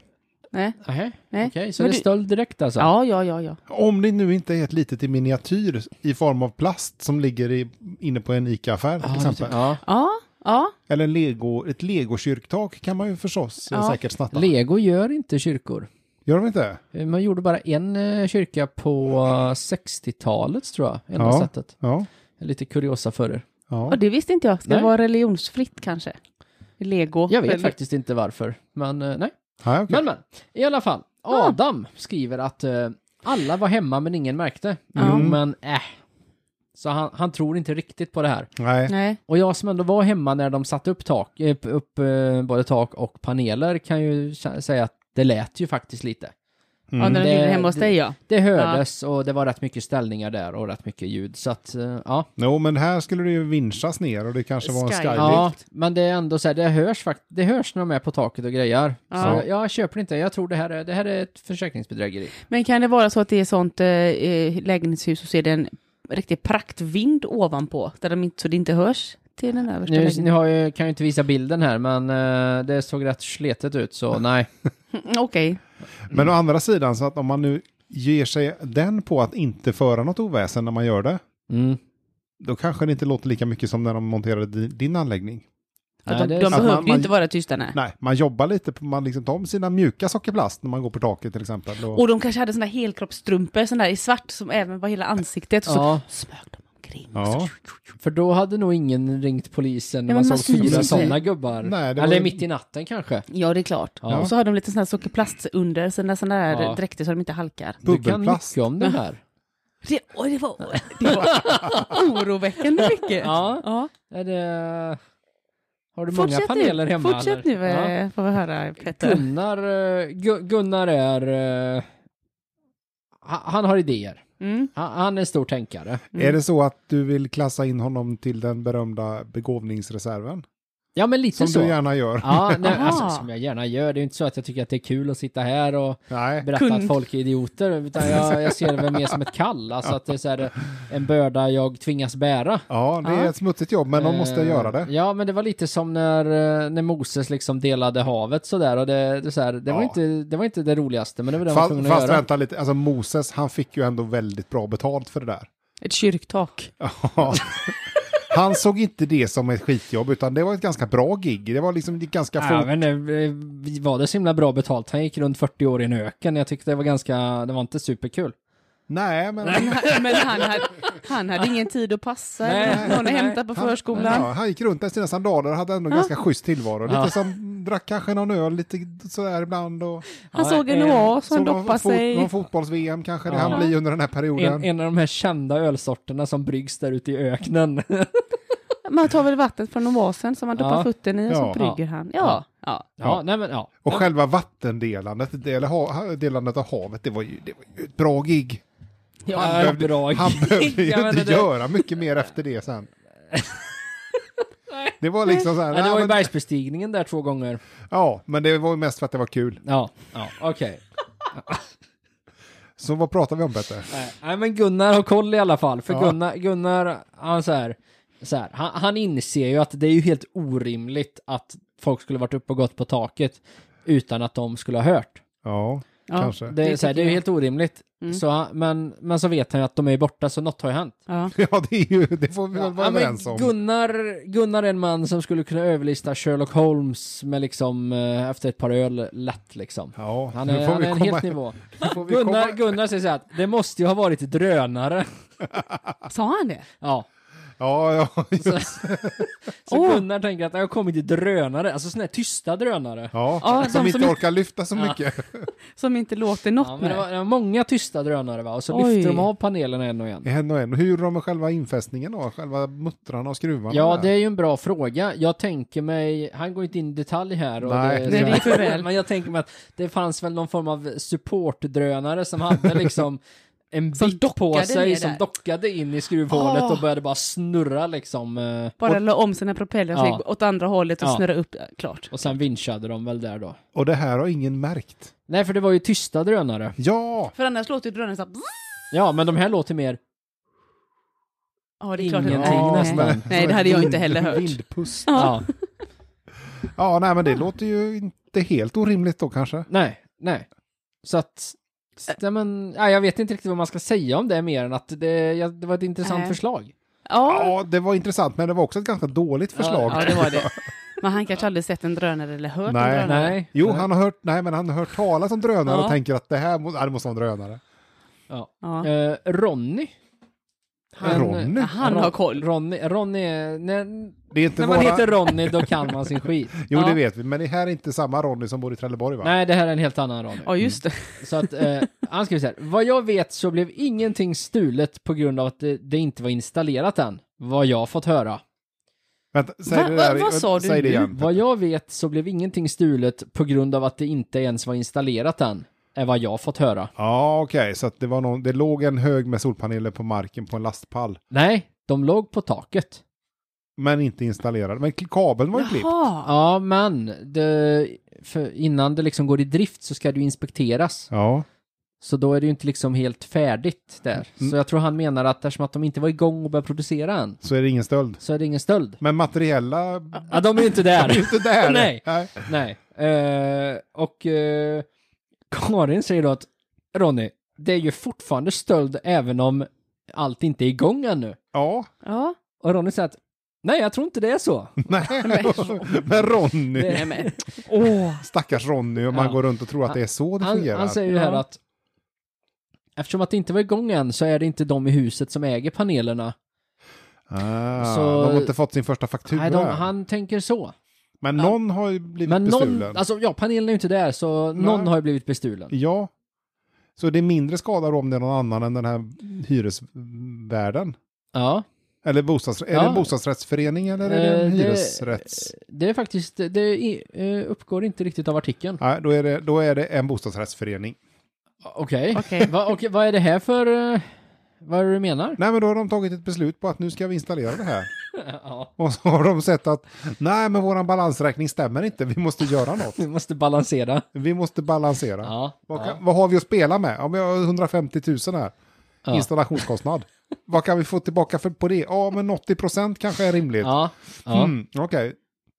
Speaker 3: Nej.
Speaker 2: Nähä. Okej,
Speaker 3: Nej.
Speaker 2: så
Speaker 3: Men
Speaker 2: det är
Speaker 3: du-
Speaker 2: stöld direkt alltså?
Speaker 3: Ja, ja, ja, ja.
Speaker 1: Om det nu inte är ett litet i miniatyr i form av plast som ligger i, inne på en ICA-affär
Speaker 2: Ah,
Speaker 1: till exempel.
Speaker 2: Ja.
Speaker 3: Ja, ja.
Speaker 1: Eller en lego, ett legokyrktak kan man ju förstås eh,
Speaker 3: Ja.
Speaker 1: säkert snatta.
Speaker 2: Lego gör inte kyrkor.
Speaker 1: Gör de inte?
Speaker 2: Eh, Man gjorde bara en eh, kyrka på eh, 60-talet tror jag, enda
Speaker 1: Ja.
Speaker 2: sättet.
Speaker 1: Ja.
Speaker 2: Lite kuriosa förr.
Speaker 1: ja.
Speaker 3: Och det visste inte jag. Ska
Speaker 2: Nej.
Speaker 3: det vara religionsfritt kanske? Lego?
Speaker 2: Jag vet
Speaker 3: Eller-
Speaker 2: faktiskt inte varför, men eh, nej.
Speaker 1: Nej, okej.
Speaker 2: Men men, i alla fall. Adam skriver att eh, alla var hemma men ingen märkte.
Speaker 3: Ja.
Speaker 2: Men äh. Så han, han tror inte riktigt på det här.
Speaker 1: Nej.
Speaker 3: Nej.
Speaker 2: Och jag som ändå var hemma när de satte upp tak, eh, upp eh, både tak och paneler kan ju sä- säga att det lät ju faktiskt lite.
Speaker 1: Mm.
Speaker 3: Ja, när de
Speaker 2: Det-
Speaker 3: gjorde det hemma hos
Speaker 2: det-
Speaker 3: dig ja.
Speaker 2: Det hördes och det var rätt mycket ställningar där och rätt mycket ljud så att eh, ja.
Speaker 1: Jo, men här skulle det ju vinschas ner och det kanske var en
Speaker 3: Skylift.
Speaker 1: skylift.
Speaker 2: Ja, men det är ändå så här, det hörs faktiskt, det hörs när de är på taket och grejer.
Speaker 3: Ja.
Speaker 2: Så jag köper inte, jag tror det här är, det här är ett försäkringsbedrägeri.
Speaker 3: Men kan det vara så att det är sånt eh, eh, lägenhetshus och så är det en riktig praktvind ovanpå, där de inte, så det inte hörs till den översta
Speaker 2: Nu,
Speaker 3: lägenheten?
Speaker 2: nu har jag, kan jag inte visa bilden här, men eh, det såg rätt sletet ut så nej.
Speaker 3: Mm, Okej.
Speaker 1: Men å andra sidan, så att om man nu ger sig den på att inte föra något oväsen när man gör det,
Speaker 2: Mm.
Speaker 1: då kanske det inte låter lika mycket som när de monterade di- din anläggning.
Speaker 3: Att
Speaker 2: Nej,
Speaker 3: de
Speaker 2: det är
Speaker 3: de
Speaker 2: sant.
Speaker 3: behövde
Speaker 1: Att man-
Speaker 3: ju inte vara tysta. Nej.
Speaker 1: Nej, man jobbar lite på, man liksom tar sina mjuka sockerplast när man går på taket till exempel. Och,
Speaker 3: Och de kanske hade såna helkroppsstrumpor, såna där i svart som även var hela ansiktet. Och så
Speaker 2: Ja.
Speaker 3: smög de omkring.
Speaker 1: ja,
Speaker 2: För då hade nog ingen ringt polisen när
Speaker 3: Ja,
Speaker 2: man
Speaker 3: men man
Speaker 2: såg
Speaker 3: syns
Speaker 2: fyra
Speaker 3: inte.
Speaker 2: sådana gubbar.
Speaker 1: Nej, det var
Speaker 2: Eller
Speaker 1: ju-
Speaker 2: mitt i natten kanske.
Speaker 3: Ja, det är klart.
Speaker 2: Ja.
Speaker 3: Och så har de lite sån här sockerplast under, sina såna där
Speaker 2: Ja.
Speaker 3: dräkter så de inte halkar.
Speaker 2: Du kan
Speaker 1: bubbelplast.
Speaker 2: mycket om det här.
Speaker 3: Det, oj, det, var, det var oroväckande mycket.
Speaker 2: Ja.
Speaker 3: ja.
Speaker 2: Är det... Har du många
Speaker 3: Fortsätt
Speaker 2: paneler
Speaker 3: nu,
Speaker 2: hemma?
Speaker 3: Fortsätt
Speaker 2: eller?
Speaker 3: nu eh, får vi höra Petter.
Speaker 2: Gunnar, eh, Gu- Gunnar är... eh, ha- Han har idéer.
Speaker 3: Mm.
Speaker 2: Ha- Han är en stor tänkare.
Speaker 1: Är det så att du vill klassa in honom till den berömda begåvningsreserven?
Speaker 2: Ja, men lite
Speaker 1: Som
Speaker 2: så.
Speaker 1: du gärna gör.
Speaker 2: Ja, nej,
Speaker 3: Aha.
Speaker 2: alltså, som jag gärna gör. Det är ju inte så att jag tycker att det är kul att sitta här och
Speaker 1: Nej.
Speaker 2: berätta
Speaker 3: Kund.
Speaker 2: att folk är idioter, utan jag, jag ser det väl mer som ett kall. Alltså att det är så här, eh, en börda jag tvingas bära.
Speaker 1: Ja, det är ett smutsigt jobb, men de måste
Speaker 2: Eh,
Speaker 1: göra det.
Speaker 2: Ja, men det var lite som när, eh, när Moses liksom delade havet sådär och det, det, så här, det, var
Speaker 1: Ja.
Speaker 2: inte, det var inte det roligaste, men det var det man var
Speaker 1: Fast,
Speaker 2: tvungen att
Speaker 1: fast
Speaker 2: göra.
Speaker 1: vänta lite, alltså Moses, han fick ju ändå väldigt bra betalt för det där.
Speaker 3: Ett kyrktak.
Speaker 1: Ja. Han såg inte det som ett skitjobb, utan det var ett ganska bra gig. Det var liksom det gick ganska
Speaker 2: Ja,
Speaker 1: fort.
Speaker 2: men det, eh, var det så himla bra betalt? Han gick runt 40 år i en öken. Jag tyckte det var ganska, det var inte superkul.
Speaker 1: Nej, men
Speaker 3: Men han- Men han hade, han hade ingen tid att passa.
Speaker 2: Nej.
Speaker 3: eller Någon att hämta på
Speaker 1: ja,
Speaker 3: förskolan.
Speaker 1: han gick runt där i sina sandaler och hade ändå ganska schysst tillvaro. Lite som, drack kanske någon öl lite sådär ibland. Och
Speaker 3: Han
Speaker 2: Ja,
Speaker 3: såg en
Speaker 2: eh,
Speaker 3: oas och han
Speaker 1: såg någon,
Speaker 3: doppade
Speaker 1: fot, någon
Speaker 3: sig.
Speaker 1: fotbolls-VM kanske det
Speaker 2: Ja.
Speaker 1: han blir under den här perioden.
Speaker 2: En, en av de här kända ölsorterna som bryggs där ute i öknen.
Speaker 3: Man tar väl vattnet från oasen som han
Speaker 2: Ja.
Speaker 3: doppar fötten i och
Speaker 1: Ja.
Speaker 3: så brygger han. Ja. ja.
Speaker 2: Ja, nej men ja.
Speaker 1: Och själva vattendelandet, del, ha, delandet av havet, det var ju, det var ju ett bra gig.
Speaker 2: ja
Speaker 1: Han behövde,
Speaker 2: bra
Speaker 1: han
Speaker 2: gig.
Speaker 1: behövde ju
Speaker 2: Jag menar,
Speaker 1: inte
Speaker 2: det-
Speaker 1: göra mycket mer efter det sen. Det var liksom så här,
Speaker 2: Nej, det
Speaker 1: nej,
Speaker 2: var
Speaker 1: men,
Speaker 2: ju bergsbestigningen där två gånger.
Speaker 1: ja, men det var ju mest för att det var kul.
Speaker 2: Ja, ja okej.
Speaker 1: Så vad pratar vi om Petter?
Speaker 2: Nej, Eh, Nej, men Gunnar har koll i alla fall. För
Speaker 1: Ja.
Speaker 2: Gunnar, Gunnar han, så här, så här, han, han inser ju att det är ju helt orimligt att folk skulle varit uppe och gått på taket utan att de skulle ha hört.
Speaker 1: Ja,
Speaker 3: Ja.
Speaker 1: kanske.
Speaker 2: Det, är
Speaker 3: Det
Speaker 2: så här, det
Speaker 3: tycker
Speaker 2: är ju
Speaker 3: jag.
Speaker 2: helt orimligt.
Speaker 3: Mm.
Speaker 2: Så, han- men, men så vet han ju att de är borta, så något har ju hänt.
Speaker 3: Ja.
Speaker 1: Ja, det, är ju, det får vi väl vara
Speaker 2: Ja, men
Speaker 1: överens om.
Speaker 2: Gunnar, Gunnar är en man som skulle kunna överlista Sherlock Holmes med liksom, eh, efter ett par öl lätt liksom.
Speaker 1: Ja,
Speaker 2: Han
Speaker 1: nu
Speaker 2: är,
Speaker 1: får
Speaker 2: han
Speaker 1: vi
Speaker 2: är en
Speaker 1: komma-
Speaker 2: helt nivå.
Speaker 1: nu får vi
Speaker 2: Gunnar,
Speaker 1: komma-
Speaker 2: Gunnar säger så här att det måste ju ha varit drönare.
Speaker 3: Sa han det?
Speaker 2: Ja.
Speaker 1: Ja, ja, just-
Speaker 2: Så, så
Speaker 3: Åh.
Speaker 2: Gunnar tänker att det har kommit drönare, alltså sådana här tysta drönare.
Speaker 1: ja.
Speaker 3: Ja, de
Speaker 1: som
Speaker 3: som
Speaker 1: inte
Speaker 3: inte-
Speaker 1: orkar lyfta så mycket.
Speaker 3: Som inte låter något
Speaker 2: Ja, men
Speaker 3: med
Speaker 2: det,
Speaker 3: det.
Speaker 2: var, det var många tysta drönare va, och så
Speaker 3: Oj.
Speaker 2: lyfter de av panelerna en och en.
Speaker 1: En och en. Hur gjorde de med själva infästningen då? Själva muttrarna och skruvarna?
Speaker 2: Ja,
Speaker 1: där?
Speaker 2: det är ju en bra fråga. Jag tänker mig, han går inte in i detalj här. Och
Speaker 1: Nej.
Speaker 2: det,
Speaker 1: Nej,
Speaker 3: det är för väl.
Speaker 2: Men jag tänker mig att det fanns väl någon form av supportdrönare som hade liksom en
Speaker 3: Som
Speaker 2: bit på
Speaker 3: dockade
Speaker 2: sig
Speaker 3: ner
Speaker 2: som
Speaker 3: där.
Speaker 2: dockade in i skruvhålet
Speaker 3: Ah.
Speaker 2: och började bara snurra liksom. eh,
Speaker 3: Bara la om sina propeller och så
Speaker 2: Ja.
Speaker 3: gick åt andra hållet och
Speaker 2: Ja.
Speaker 3: snurra upp. Ja, Klart.
Speaker 2: Och sen vinschade de väl där då.
Speaker 1: Och det här har ingen märkt.
Speaker 2: Nej, för det var ju tysta drönare.
Speaker 1: Ja!
Speaker 3: För annars låter ju drönaren så här...
Speaker 2: Ja, men de här låter mer
Speaker 3: Ja, det är klart. att-
Speaker 2: Ingenting
Speaker 3: Nej, nej.
Speaker 2: nästan.
Speaker 1: men-
Speaker 3: Nej, det hade jag inte heller hört.
Speaker 1: Vindpust.
Speaker 2: Ja,
Speaker 1: Ja, nej, men det låter ju inte helt orimligt då kanske.
Speaker 2: nej, nej. Så att, nej, men, nej, jag vet inte riktigt vad man ska säga om det mer än att det, ja, det var ett intressant
Speaker 3: Nej.
Speaker 2: förslag.
Speaker 3: Ja,
Speaker 1: Ja, det var intressant, men det var också ett ganska dåligt förslag.
Speaker 3: ja, det var det. Men han kanske aldrig sett en drönare eller hört
Speaker 1: Nej.
Speaker 3: en drönare.
Speaker 2: Nej.
Speaker 1: Jo, han har hört, nej, men han har hört talas om drönare
Speaker 3: Ja.
Speaker 1: och tänker att det här må, ja, det måste vara en drönare.
Speaker 2: Ja.
Speaker 3: Ja.
Speaker 2: Eh, Ronny. Han-
Speaker 1: Ronny?
Speaker 3: Ja, Han har koll.
Speaker 2: Ronny, Ronny är- när,
Speaker 1: Det är inte
Speaker 2: när man
Speaker 1: våra...
Speaker 2: heter Ronny då kan man sin skit.
Speaker 1: Jo,
Speaker 3: Ja.
Speaker 1: det vet vi, men det här är inte samma Ronny som bor i Trelleborg va?
Speaker 2: Nej, det här är en helt annan Ronny.
Speaker 3: Ja, just det.
Speaker 2: Så att eh, Han skriver så här. Vad jag vet så blev ingenting stulet på grund av att det, det inte var installerat än. Vad jag fått höra.
Speaker 1: Vänta, säg
Speaker 3: Va-
Speaker 1: det
Speaker 3: va-
Speaker 1: där.
Speaker 3: vad sa du
Speaker 1: säg det
Speaker 3: nu?
Speaker 1: igen.
Speaker 2: Vad jag vet så blev ingenting stulet på grund av att det inte ens var installerat än. Är vad jag fått höra.
Speaker 1: Ja, okej. Så att det, var någon, det låg en hög med solpaneler på marken på en lastpall.
Speaker 2: Nej, de låg på taket.
Speaker 1: Men inte installerad. Men k- kabeln var ju klippt.
Speaker 3: Jaha.
Speaker 2: Ja, men det, för innan det liksom går i drift så ska det ju inspekteras.
Speaker 1: Ja.
Speaker 2: Så då är det ju inte liksom helt färdigt där. Så jag tror han menar att eftersom att de inte var igång och började producera än,
Speaker 1: Så är det ingen stöld.
Speaker 2: så är det ingen stöld.
Speaker 1: Men materiella...
Speaker 2: Ja, de är ju inte
Speaker 1: Det är
Speaker 2: där.
Speaker 1: inte där.
Speaker 2: Nej. Nej. Eh, och eh, Karin säger då att Ronny, det är ju fortfarande stöld även om allt inte är igång ännu.
Speaker 1: Ja.
Speaker 3: Ja.
Speaker 2: Och Ronny säger att nej, jag tror inte det är så.
Speaker 1: Nej. Men Ronny.
Speaker 2: Det-
Speaker 3: Nej, men.
Speaker 2: Åh,
Speaker 1: Stackars Ronny om man
Speaker 2: Ja.
Speaker 1: går runt och tror att det är så det
Speaker 2: han,
Speaker 1: fungerar.
Speaker 2: han säger ju här
Speaker 3: Ja.
Speaker 2: att eftersom att det inte var igång än så är det inte de i huset som äger panelerna.
Speaker 1: ah,
Speaker 2: Så-
Speaker 1: De har inte fått sin första faktura.
Speaker 2: Nej, de, han tänker så.
Speaker 1: Men någon har ju blivit
Speaker 2: Men
Speaker 1: bestulen.
Speaker 2: någon, alltså ja, panelen är ju inte där så någon har ju blivit bestulen.
Speaker 1: Ja. Så det är mindre skada då om det är någon annan än den här hyresvärden.
Speaker 2: Ja,
Speaker 1: Eller bostads... är
Speaker 2: Ja.
Speaker 1: det en bostadsrättsförening eller är det en
Speaker 2: Eh,
Speaker 1: hyresrätts...
Speaker 2: det är faktiskt, det i- eh, uppgår inte riktigt av artikeln.
Speaker 1: Nej, då är, det, då är det en bostadsrättsförening.
Speaker 2: Okej,
Speaker 3: Okej.
Speaker 2: Va, okej, vad är det här för, eh, vad är det du menar?
Speaker 1: Nej, men då har de tagit ett beslut på att nu ska vi installera det här.
Speaker 2: ja,
Speaker 1: Och så har de sett att nej, men våran balansräkning stämmer inte. Vi måste göra något.
Speaker 2: vi måste balansera.
Speaker 1: Vi måste balansera.
Speaker 2: Ja,
Speaker 1: Vad,
Speaker 2: ja.
Speaker 1: kan, vad har vi att spela med? Ja, men jag har 150 000 här.
Speaker 2: Ja.
Speaker 1: Installationskostnad. vad kan vi få tillbaka för, på det? Ja, men 80 procent kanske är rimligt.
Speaker 2: Ja, ja,
Speaker 1: Mm, Okej.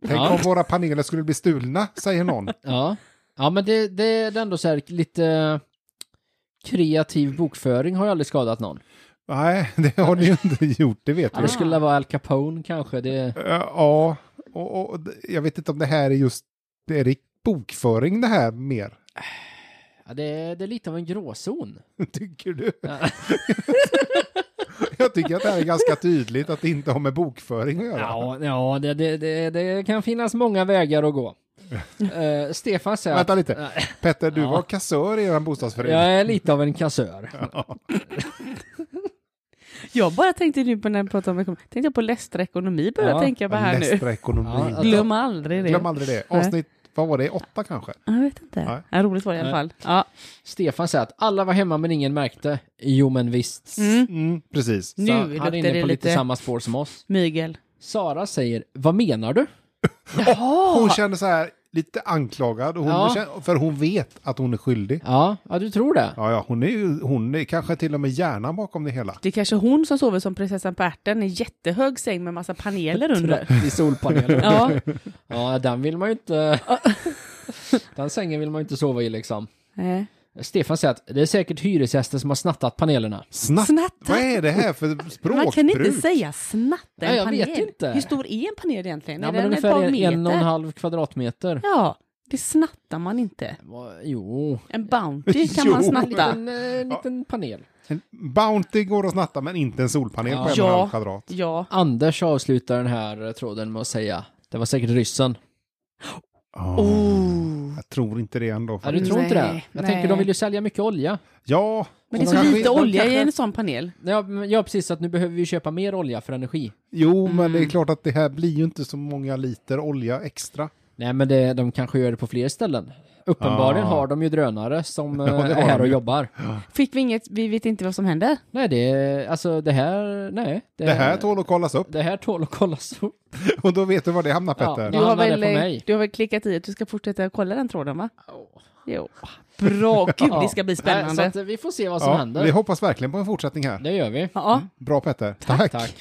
Speaker 1: Tänk
Speaker 2: Ja.
Speaker 1: om våra paneler skulle bli stulna, säger någon.
Speaker 2: ja. ja men det, det är ändå så här lite kreativ bokföring har ju aldrig skadat någon.
Speaker 1: Nej, det har ni ju inte gjort, det vet vi.
Speaker 2: Det skulle vara Al Capone kanske, det...
Speaker 1: Eh, Ja, och, och d- jag vet inte om det här är just, det är det bokföring det här mer?
Speaker 2: Ja, det, är- det är lite av en gråzon.
Speaker 1: Tycker du? jag tycker att det här är ganska tydligt att det inte har med bokföring att göra.
Speaker 2: Ja, ja det, det, det, det kan finnas många vägar att gå. Eh, Stefan säger
Speaker 1: Vänta
Speaker 2: att
Speaker 1: lite. Petter, du
Speaker 2: Ja.
Speaker 1: var kassör i er bostadsförening.
Speaker 2: jag är lite av en kassör.
Speaker 3: Jag bara tänkte nu på när jag pratade om ekonomi, tänkte jag på Lästra ekonomi började
Speaker 2: Ja,
Speaker 3: jag tänka på här nu.
Speaker 1: Lästra ekonomi.
Speaker 2: Ja, alltså-
Speaker 3: Glöm aldrig det.
Speaker 1: Glöm aldrig det.
Speaker 3: Nej.
Speaker 1: Avsnitt, vad var det, åtta kanske?
Speaker 3: Jag vet inte.
Speaker 1: Nej.
Speaker 3: Ja, roligt var det i alla fall. Ja.
Speaker 2: Stefan säger att alla var hemma men ingen märkte. Jo men visst.
Speaker 1: Mm, precis.
Speaker 3: Nu
Speaker 2: Så
Speaker 3: luktar
Speaker 2: han är
Speaker 3: det
Speaker 2: inne på lite
Speaker 3: lite-
Speaker 2: samma spår som oss.
Speaker 3: Mygel.
Speaker 2: Sara säger, vad menar du?
Speaker 1: Hon kände så här lite anklagad, och hon
Speaker 2: Ja.
Speaker 1: kände, för hon vet att hon är skyldig.
Speaker 2: Ja, ja du tror det?
Speaker 1: Ja, ja, hon är ju, hon är kanske till och med hjärnan bakom det hela.
Speaker 3: Det är kanske hon som sover som prinsessan på ärten, en jättehög säng med massa paneler under.
Speaker 2: I solpaneler.
Speaker 3: Ja.
Speaker 2: ja, den vill man ju inte... den sängen vill man ju inte sova i liksom.
Speaker 3: Nej.
Speaker 2: Stefan säger att det är säkert hyresgäster som har snattat panelerna.
Speaker 1: Snatt.
Speaker 3: Snatta.
Speaker 1: Vad är det här för språkbruk?
Speaker 3: Man kan inte säga snatta en
Speaker 2: Nej, jag
Speaker 3: panel.
Speaker 2: vet inte.
Speaker 3: Hur stor är en panel egentligen?
Speaker 2: Ja,
Speaker 3: är
Speaker 2: men
Speaker 3: den ett par
Speaker 2: ungefär en,
Speaker 3: meter?
Speaker 2: en och en halv kvadratmeter.
Speaker 3: Ja, det snattar man inte.
Speaker 2: Va- Jo.
Speaker 3: En Bounty kan
Speaker 1: Jo.
Speaker 3: man
Speaker 2: En
Speaker 3: snatta.
Speaker 2: liten, eh, liten panel.
Speaker 1: Bounty går att snatta, men inte en solpanel på en och en halv
Speaker 3: Ja,
Speaker 1: kvadrat.
Speaker 3: ja.
Speaker 2: Anders avslutar den här eh, tråden med att säga, det var säkert ryssen.
Speaker 3: Oh.
Speaker 1: Jag tror inte det ändå.
Speaker 2: Ja, du tror inte det?
Speaker 3: Nej,
Speaker 2: Jag
Speaker 3: nej.
Speaker 2: tänker de vill ju sälja mycket olja.
Speaker 1: Ja.
Speaker 3: Men det är
Speaker 1: de
Speaker 3: så
Speaker 1: kanske-
Speaker 3: lite
Speaker 1: de
Speaker 3: olja i
Speaker 1: kanske-
Speaker 3: en sån panel.
Speaker 2: Ja, men- ja precis, så att nu behöver vi köpa mer olja för energi.
Speaker 1: Jo, men det är klart att det här blir ju inte så många liter olja extra.
Speaker 2: Nej men det, de kanske gör det på fler ställen. Uppenbarligen
Speaker 1: Ah.
Speaker 2: har de ju drönare som eh,
Speaker 1: det har
Speaker 2: är här
Speaker 1: de
Speaker 2: och
Speaker 1: ju.
Speaker 2: jobbar.
Speaker 3: Fick vi inget, vi vet inte vad som händer.
Speaker 2: Nej det, alltså det här, nej.
Speaker 1: Det här
Speaker 2: Eh.
Speaker 1: tål att kollas upp
Speaker 2: det här tål att kollas upp.
Speaker 1: och då vet du var det hamnar
Speaker 2: Ja.
Speaker 1: Petter.
Speaker 2: Ja.
Speaker 3: Du har,
Speaker 2: handlar det
Speaker 3: väl, eh,
Speaker 2: på mig?
Speaker 3: du har väl klickat i att du ska fortsätta kolla den tråden va? Jo. Bra, gud det ska bli
Speaker 2: Nej,
Speaker 3: spännande.
Speaker 2: Så att eh, vi får se vad som
Speaker 1: Ja,
Speaker 2: händer.
Speaker 1: vi hoppas verkligen på en fortsättning här.
Speaker 2: Det gör vi.
Speaker 3: Ja,
Speaker 1: Bra Petter. Tack.
Speaker 2: Tack.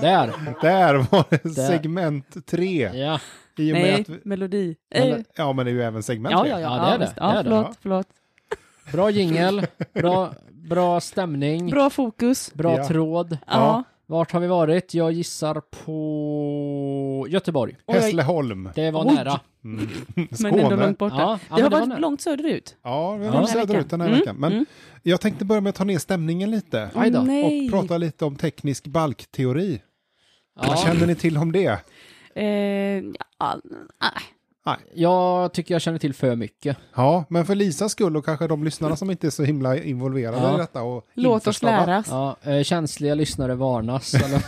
Speaker 2: Där.
Speaker 1: Där var det
Speaker 2: Där.
Speaker 1: segment tre.
Speaker 2: Ja.
Speaker 1: I och med
Speaker 3: nej,
Speaker 1: att vi...
Speaker 3: melodi. Eh,
Speaker 1: Eller- Ja, men det är ju även segment
Speaker 3: Ja,
Speaker 1: tre.
Speaker 3: ja, ja,
Speaker 2: Ja, det är det.
Speaker 3: visst. Ja,
Speaker 2: Det är det.
Speaker 3: förlåt,
Speaker 1: Ja.
Speaker 3: förlåt.
Speaker 2: Bra jingel, bra, bra stämning, bra,
Speaker 3: Bra fokus.
Speaker 1: Ja.
Speaker 2: tråd.
Speaker 1: Ja.
Speaker 3: Ja.
Speaker 2: Vart har vi varit? Jag gissar på Göteborg. Oj,
Speaker 1: Hässleholm.
Speaker 2: Det var
Speaker 3: Oj.
Speaker 2: nära.
Speaker 3: Men ändå
Speaker 1: Skåne.
Speaker 3: långt borta.
Speaker 2: Ja, ja, men
Speaker 3: det har
Speaker 2: det var
Speaker 3: varit
Speaker 2: nä-
Speaker 3: långt söderut.
Speaker 1: Ja, vi
Speaker 2: Den
Speaker 1: var
Speaker 2: här
Speaker 1: söder
Speaker 3: veckan.
Speaker 1: ut den här
Speaker 3: Mm,
Speaker 1: veckan. Men jag tänkte börja med att ta ner stämningen lite.
Speaker 2: Aj då.
Speaker 3: Åh,
Speaker 1: Och prata lite om teknisk balkteori. Vad
Speaker 2: Ja.
Speaker 1: känner ni till om det?
Speaker 3: Eh, ja, nej.
Speaker 2: Jag tycker jag känner till för mycket.
Speaker 1: Ja, men för Lisas skull och kanske de lyssnarna som inte är så himla involverade
Speaker 2: Ja.
Speaker 1: i detta. Och
Speaker 3: Låt oss
Speaker 1: införstådda.
Speaker 3: läras.
Speaker 2: Ja, eh, känsliga lyssnare varnas. Eller?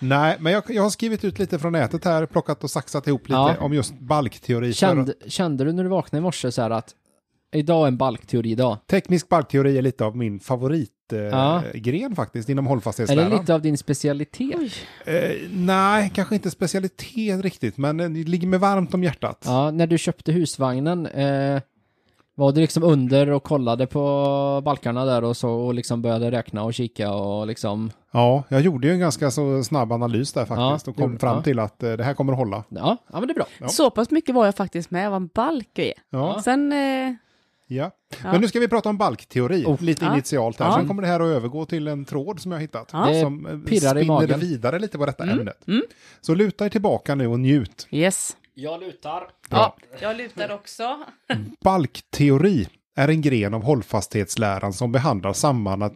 Speaker 1: Nej, men jag, jag har skrivit ut lite från nätet här, plockat och saxat ihop lite
Speaker 2: Ja.
Speaker 1: om just balkteori. För
Speaker 2: kände, kände du när du vaknade i morse så här att idag är en balkteoridag?
Speaker 1: Teknisk balkteori är lite av min favoritgren eh,
Speaker 2: Ja.
Speaker 1: gren faktiskt inom
Speaker 2: Är det
Speaker 1: hållfasthetsläran.
Speaker 2: lite av din specialitet?
Speaker 3: Oj.
Speaker 1: Eh, nej, kanske inte specialitet riktigt, men eh, det ligger mig varmt om hjärtat.
Speaker 2: Ja, när du köpte husvagnen, eh, var du liksom under och kollade på balkarna där och så och liksom började räkna och kika och liksom,
Speaker 1: Ja, jag gjorde ju en ganska så snabb analys där faktiskt
Speaker 2: Ja,
Speaker 1: och kom
Speaker 2: gjorde-
Speaker 1: fram
Speaker 2: ja.
Speaker 1: till att eh, det här kommer att hålla.
Speaker 2: ja, ja men det är bra.
Speaker 1: Ja.
Speaker 3: Så pass mycket var jag faktiskt med vad en balk är.
Speaker 1: Ja,
Speaker 3: Sen, eh,
Speaker 1: ja.
Speaker 3: Ja.
Speaker 1: Men nu ska vi prata om balkteori
Speaker 2: Oh.
Speaker 1: lite
Speaker 3: Ja.
Speaker 1: initialt här.
Speaker 3: Ja.
Speaker 1: Sen kommer det här att övergå till en tråd som jag har hittat.
Speaker 3: Ja.
Speaker 2: Det
Speaker 1: Som eh,
Speaker 2: pirrar i
Speaker 1: spinner
Speaker 2: magen.
Speaker 1: vidare lite på detta ämnet.
Speaker 3: mm.
Speaker 1: Så luta er tillbaka nu och njut.
Speaker 3: yes.
Speaker 2: Jag lutar.
Speaker 1: Bra.
Speaker 3: Ja, jag lutar också.
Speaker 1: Balkteori är en gren av hållfasthetsläran som behandlar sambandet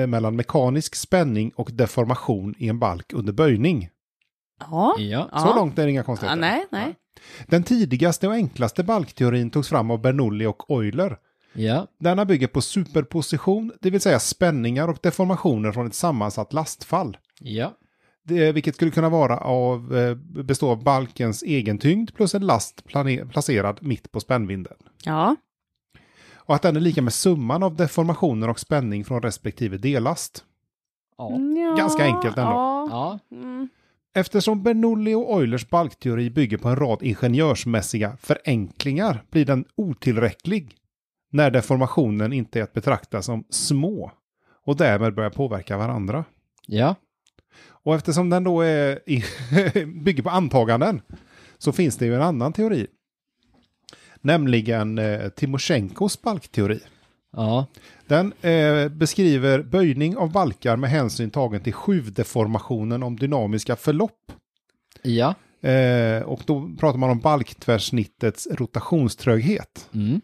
Speaker 1: eh, mellan mekanisk spänning och deformation i en balk under böjning.
Speaker 3: Ja.
Speaker 2: Ja.
Speaker 1: Så långt är det inga
Speaker 3: ja,
Speaker 1: konstigheter.
Speaker 3: nej, nej.
Speaker 1: Den tidigaste och enklaste balkteorin togs fram av Bernoulli och Euler.
Speaker 2: Ja.
Speaker 1: Denna bygger på superposition, det vill säga spänningar och deformationer från ett sammansatt lastfall.
Speaker 2: Ja.
Speaker 1: Det, vilket skulle kunna vara av, eh, bestå av balkens egen tyngd plus en last plane- placerad mitt på spännvinden.
Speaker 3: Ja,
Speaker 1: Och att den är lika med summan av deformationer och spänning från respektive dellast.
Speaker 2: Ja.
Speaker 3: ja.
Speaker 1: Ganska enkelt ändå.
Speaker 3: Ja.
Speaker 2: Ja.
Speaker 3: Mm.
Speaker 1: Eftersom Bernoulli och Eulers balkteori bygger på en rad ingenjörsmässiga förenklingar blir den otillräcklig när deformationen inte är att betrakta som små och därmed börjar påverka varandra.
Speaker 2: Ja.
Speaker 1: Och eftersom den då är i, bygger på antaganden så finns det ju en annan teori. Nämligen eh, Timoshenkos balkteori.
Speaker 2: Ja.
Speaker 1: Den eh, beskriver böjning av balkar med hänsyn tagen till skuvdeformationen om dynamiska förlopp.
Speaker 2: Ja.
Speaker 1: Eh, och då pratar man om balktvärsnittets rotationströghet.
Speaker 2: Mm.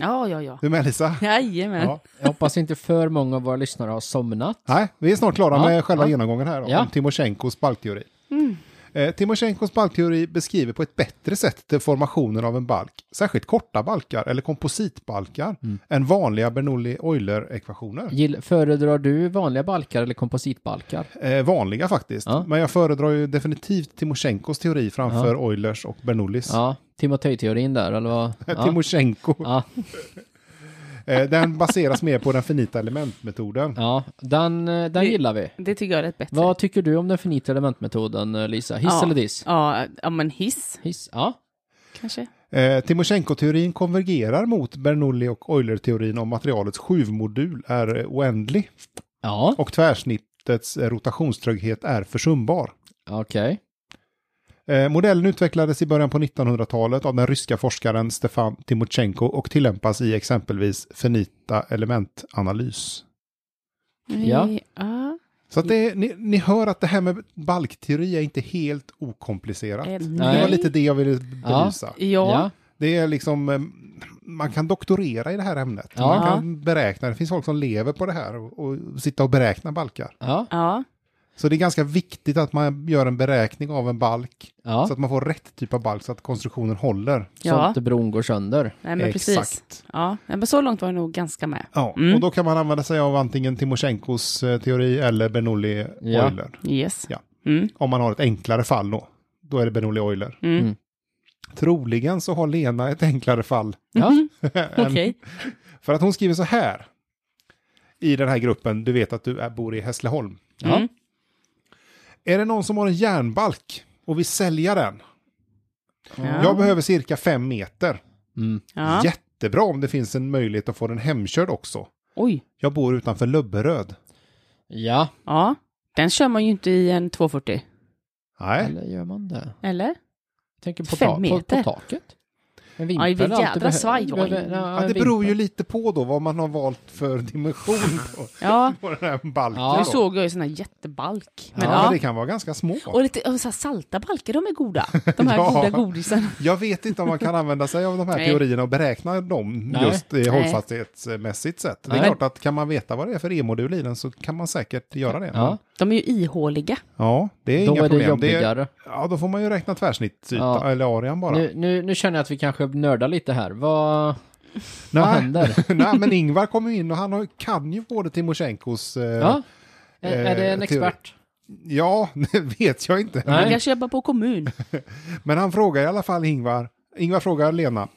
Speaker 3: ja, ja, ja.
Speaker 1: Du är med Lisa?
Speaker 3: Jajamän.
Speaker 1: Ja.
Speaker 2: Jag hoppas inte för många av våra lyssnare har somnat.
Speaker 1: Nej, vi är snart klara
Speaker 2: Ja,
Speaker 1: med själva
Speaker 2: ja.
Speaker 1: genomgången här
Speaker 2: Ja.
Speaker 1: om Timoshenkos balkteori.
Speaker 3: Mm.
Speaker 1: Eh, Timoshenkos balkteori beskriver på ett bättre sätt deformationen av en balk, särskilt korta balkar eller kompositbalkar,
Speaker 2: Mm.
Speaker 1: än vanliga Bernoulli-Euler-ekvationer.
Speaker 2: Gill, föredrar du vanliga balkar eller kompositbalkar?
Speaker 1: Eh, vanliga faktiskt,
Speaker 2: Ja.
Speaker 1: men jag föredrar ju definitivt Timoshenkos teori framför Eulers och Bernoullis.
Speaker 2: Ja, Timotej-teorin där, eller vad? Ja.
Speaker 1: Timoshenko.
Speaker 2: Ja,
Speaker 1: Eh, den baseras mer på den finita elementmetoden.
Speaker 2: ja. Den, eh, den gillar vi.
Speaker 3: Det tycker jag är rätt bättre.
Speaker 2: Vad tycker du om den finita elementmetoden, eh, Lisa? Hiss
Speaker 3: ja.
Speaker 2: eller diss?
Speaker 3: Ja, ja, men hiss
Speaker 2: Hiss, ja.
Speaker 3: kanske.
Speaker 1: Eh, Timoshenko-teorin konvergerar mot Bernoulli och Euler-teorin om materialets skuvmodul är eh, oändlig
Speaker 2: Ja,
Speaker 1: och tvärsnittets eh, rotationströghet är försumbar.
Speaker 2: okej.
Speaker 1: Eh, Modellen utvecklades i början på 1900-talet av den ryska forskaren Stefan Timotchenko och tillämpas i exempelvis finita elementanalys.
Speaker 2: Ja.
Speaker 3: ja.
Speaker 1: Så att det, ni, ni hör att det här med balkteori är inte helt okomplicerat.
Speaker 3: Eh,
Speaker 1: Det
Speaker 3: nej.
Speaker 1: var lite det jag ville belysa.
Speaker 3: Ja.
Speaker 2: Ja.
Speaker 1: Det är liksom, eh, man kan doktorera i det här ämnet.
Speaker 2: Ja.
Speaker 1: Man kan beräkna, det finns folk som lever på det här och, och sitta och beräkna balkar.
Speaker 2: Ja,
Speaker 3: ja.
Speaker 1: Så det är ganska viktigt att man gör en beräkning av en balk
Speaker 2: ja.
Speaker 1: så att man får rätt typ av balk så att konstruktionen håller.
Speaker 2: Så att
Speaker 3: ja.
Speaker 2: inte bron går sönder.
Speaker 3: Nej, men precis.
Speaker 1: Exakt.
Speaker 3: Ja. Nej, Men så långt var jag nog ganska med.
Speaker 1: Ja,
Speaker 3: Mm.
Speaker 1: och då kan man använda sig av antingen Timoshenkos eh, teori eller Bernoulli
Speaker 2: Ja.
Speaker 1: Euler.
Speaker 3: Yes.
Speaker 1: Ja.
Speaker 3: Mm.
Speaker 1: Om man har ett enklare fall då. Då är det Bernoulli Euler.
Speaker 3: Mm.
Speaker 2: Mm.
Speaker 1: Troligen så har Lena ett enklare fall.
Speaker 2: Ja,
Speaker 1: än-
Speaker 3: Okej.
Speaker 1: För att hon skriver så här. I den här gruppen, du vet att du är, bor i Hässleholm.
Speaker 2: ja.
Speaker 3: Mm.
Speaker 1: Är det någon som har en järnbalk och vill sälja den?
Speaker 3: Ja.
Speaker 1: Jag behöver cirka fem meter.
Speaker 2: Mm.
Speaker 3: Ja.
Speaker 1: Jättebra om det finns en möjlighet att få den hemkörd också.
Speaker 3: Oj.
Speaker 1: Jag bor utanför Löbberöd.
Speaker 2: ja.
Speaker 3: Ja. Den kör man ju inte i en 240.
Speaker 1: Nej,
Speaker 2: eller gör man det?
Speaker 3: Eller?
Speaker 2: Jag tänker på,
Speaker 3: Fem
Speaker 2: ta- på, på
Speaker 3: meter.
Speaker 2: taket. En
Speaker 3: Ja, i vilket
Speaker 2: alltid
Speaker 3: jädra
Speaker 2: behö-
Speaker 3: svaj, oj.
Speaker 2: behöver- ja,
Speaker 1: ja,
Speaker 2: en
Speaker 1: det beror
Speaker 2: vimpel.
Speaker 1: ju lite på då vad man har valt för dimension på,
Speaker 3: Ja.
Speaker 1: på den här balken.
Speaker 2: Ja.
Speaker 3: Nu
Speaker 1: då.
Speaker 3: såg jag ju sån här jättebalk. Men,
Speaker 1: Ja,
Speaker 3: ja.
Speaker 1: Men det kan vara ganska små.
Speaker 3: Och lite och så här salta balkar, de är goda. De här
Speaker 1: Ja.
Speaker 3: goda godisen.
Speaker 1: Jag vet inte om man kan använda sig av de här
Speaker 3: Nej.
Speaker 1: teorierna och beräkna dem
Speaker 2: Nej.
Speaker 1: just i
Speaker 3: Nej.
Speaker 1: hållfasthetsmässigt sätt. Det är
Speaker 2: Nej.
Speaker 1: klart att kan man veta vad det är för e-modul i den så kan man säkert göra det.
Speaker 2: Ja.
Speaker 3: De är ju ihåliga.
Speaker 1: Ja, det är
Speaker 2: Då
Speaker 1: inga
Speaker 2: är det
Speaker 1: problem. är,
Speaker 2: jobbigare.
Speaker 1: ja, då får man ju räkna tvärsnitt
Speaker 2: Ja.
Speaker 1: eller arean bara.
Speaker 2: Nu, nu, nu känner jag att vi kanske nördar lite här. Vad, vad
Speaker 1: Nej.
Speaker 2: händer?
Speaker 1: Nej, men Ingvar kommer ju in och han har- kan ju både Timosjenkos... Eh,
Speaker 2: Ja.
Speaker 1: ja.
Speaker 2: Är, är det en
Speaker 1: teori.
Speaker 2: expert?
Speaker 1: det vet jag inte.
Speaker 3: De
Speaker 2: Nej.
Speaker 3: kanske jobbar på kommun.
Speaker 1: Men han frågar i alla fall Ingvar. Ingvar frågar Lena,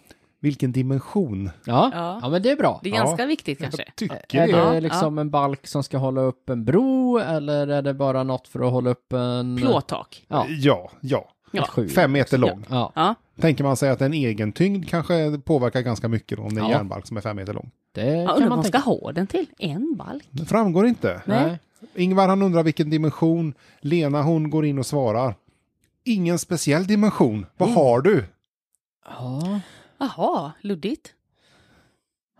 Speaker 1: vilken dimension?
Speaker 2: Ja.
Speaker 3: Ja.
Speaker 2: ja, men det är bra.
Speaker 3: Det är
Speaker 1: Ja.
Speaker 3: ganska viktigt kanske.
Speaker 1: Jag tycker
Speaker 2: Är
Speaker 1: det.
Speaker 2: det
Speaker 3: Ja,
Speaker 2: liksom en balk som ska hålla upp en bro eller är det bara något för att hålla upp en...
Speaker 3: Plåttak.
Speaker 2: Ja,
Speaker 1: Ja, ja.
Speaker 2: ett
Speaker 3: Ja.
Speaker 2: skjul.
Speaker 1: Fem meter lång.
Speaker 2: Ja.
Speaker 3: Ja.
Speaker 1: Tänker man sig att en egen tyngd kanske påverkar ganska mycket då, om det är en
Speaker 2: Ja.
Speaker 1: järnbalk som är fem meter lång.
Speaker 2: Det
Speaker 3: Ja,
Speaker 2: kan
Speaker 3: undrar vad
Speaker 2: man
Speaker 3: man ska
Speaker 2: tänka.
Speaker 3: ha den till. En balk.
Speaker 1: Det framgår inte.
Speaker 3: Nej.
Speaker 2: Nej.
Speaker 1: Ingvar han undrar vilken dimension. Lena hon går in och svarar. Ingen speciell dimension. Vad
Speaker 3: Mm.
Speaker 1: har du?
Speaker 2: Ja.
Speaker 3: Jaha, luddigt.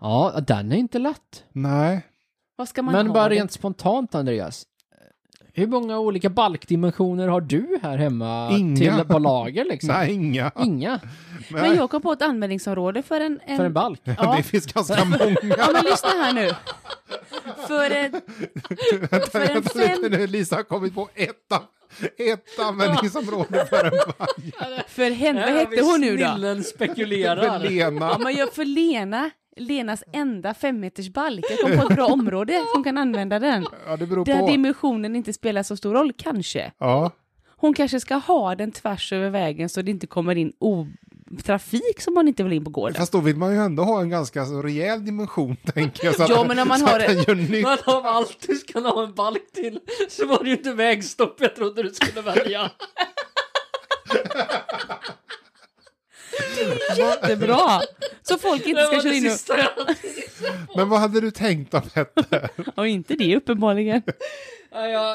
Speaker 2: ja, den är inte lätt.
Speaker 1: Nej.
Speaker 3: Vad ska man
Speaker 2: men
Speaker 3: ha
Speaker 2: bara
Speaker 3: den
Speaker 2: rent spontant Andreas. Hur många olika balkdimensioner har du här hemma
Speaker 1: Inga.
Speaker 2: till på lager liksom?
Speaker 1: Nej, inga.
Speaker 2: Inga
Speaker 1: Nej.
Speaker 3: Men jag kom på ett användningsområde för en... en...
Speaker 2: för en balk.
Speaker 3: Ja.
Speaker 1: Det finns ganska många.
Speaker 3: ja, men lyssna här nu. För en... För en
Speaker 1: Vänta lite
Speaker 3: fem...
Speaker 1: nu, Lisa har kommit på ett, an- ett användningsområde för en balk.
Speaker 3: För henne, vad hette hon nu då?
Speaker 2: Snillen
Speaker 1: För
Speaker 2: spekulerar.
Speaker 1: Lena.
Speaker 3: Ja, men jag för Lena. Lenas enda femmetersbalk. Jag kom på ett bra område som kan använda den.
Speaker 1: Ja, det beror
Speaker 3: Där
Speaker 1: på.
Speaker 3: dimensionen inte spelar så stor roll, kanske.
Speaker 1: Ja.
Speaker 3: Hon kanske ska ha den tvärs över vägen så det inte kommer in o- trafik som man inte vill in på gården.
Speaker 1: Fast då vill man ju ändå ha en ganska så rejäl dimension, tänker jag. Så att,
Speaker 3: Ja, men om man
Speaker 1: så
Speaker 3: har
Speaker 1: att den
Speaker 3: det-
Speaker 1: gör nytta.
Speaker 2: Men om allt du ska ha en balk till så var det ju inte vägstopp jag trodde du skulle välja.
Speaker 3: Det är bra! Så folk inte ska köra in och...
Speaker 2: jag...
Speaker 1: Men vad hade du tänkt då, Petter?
Speaker 3: Och inte det uppenbarligen.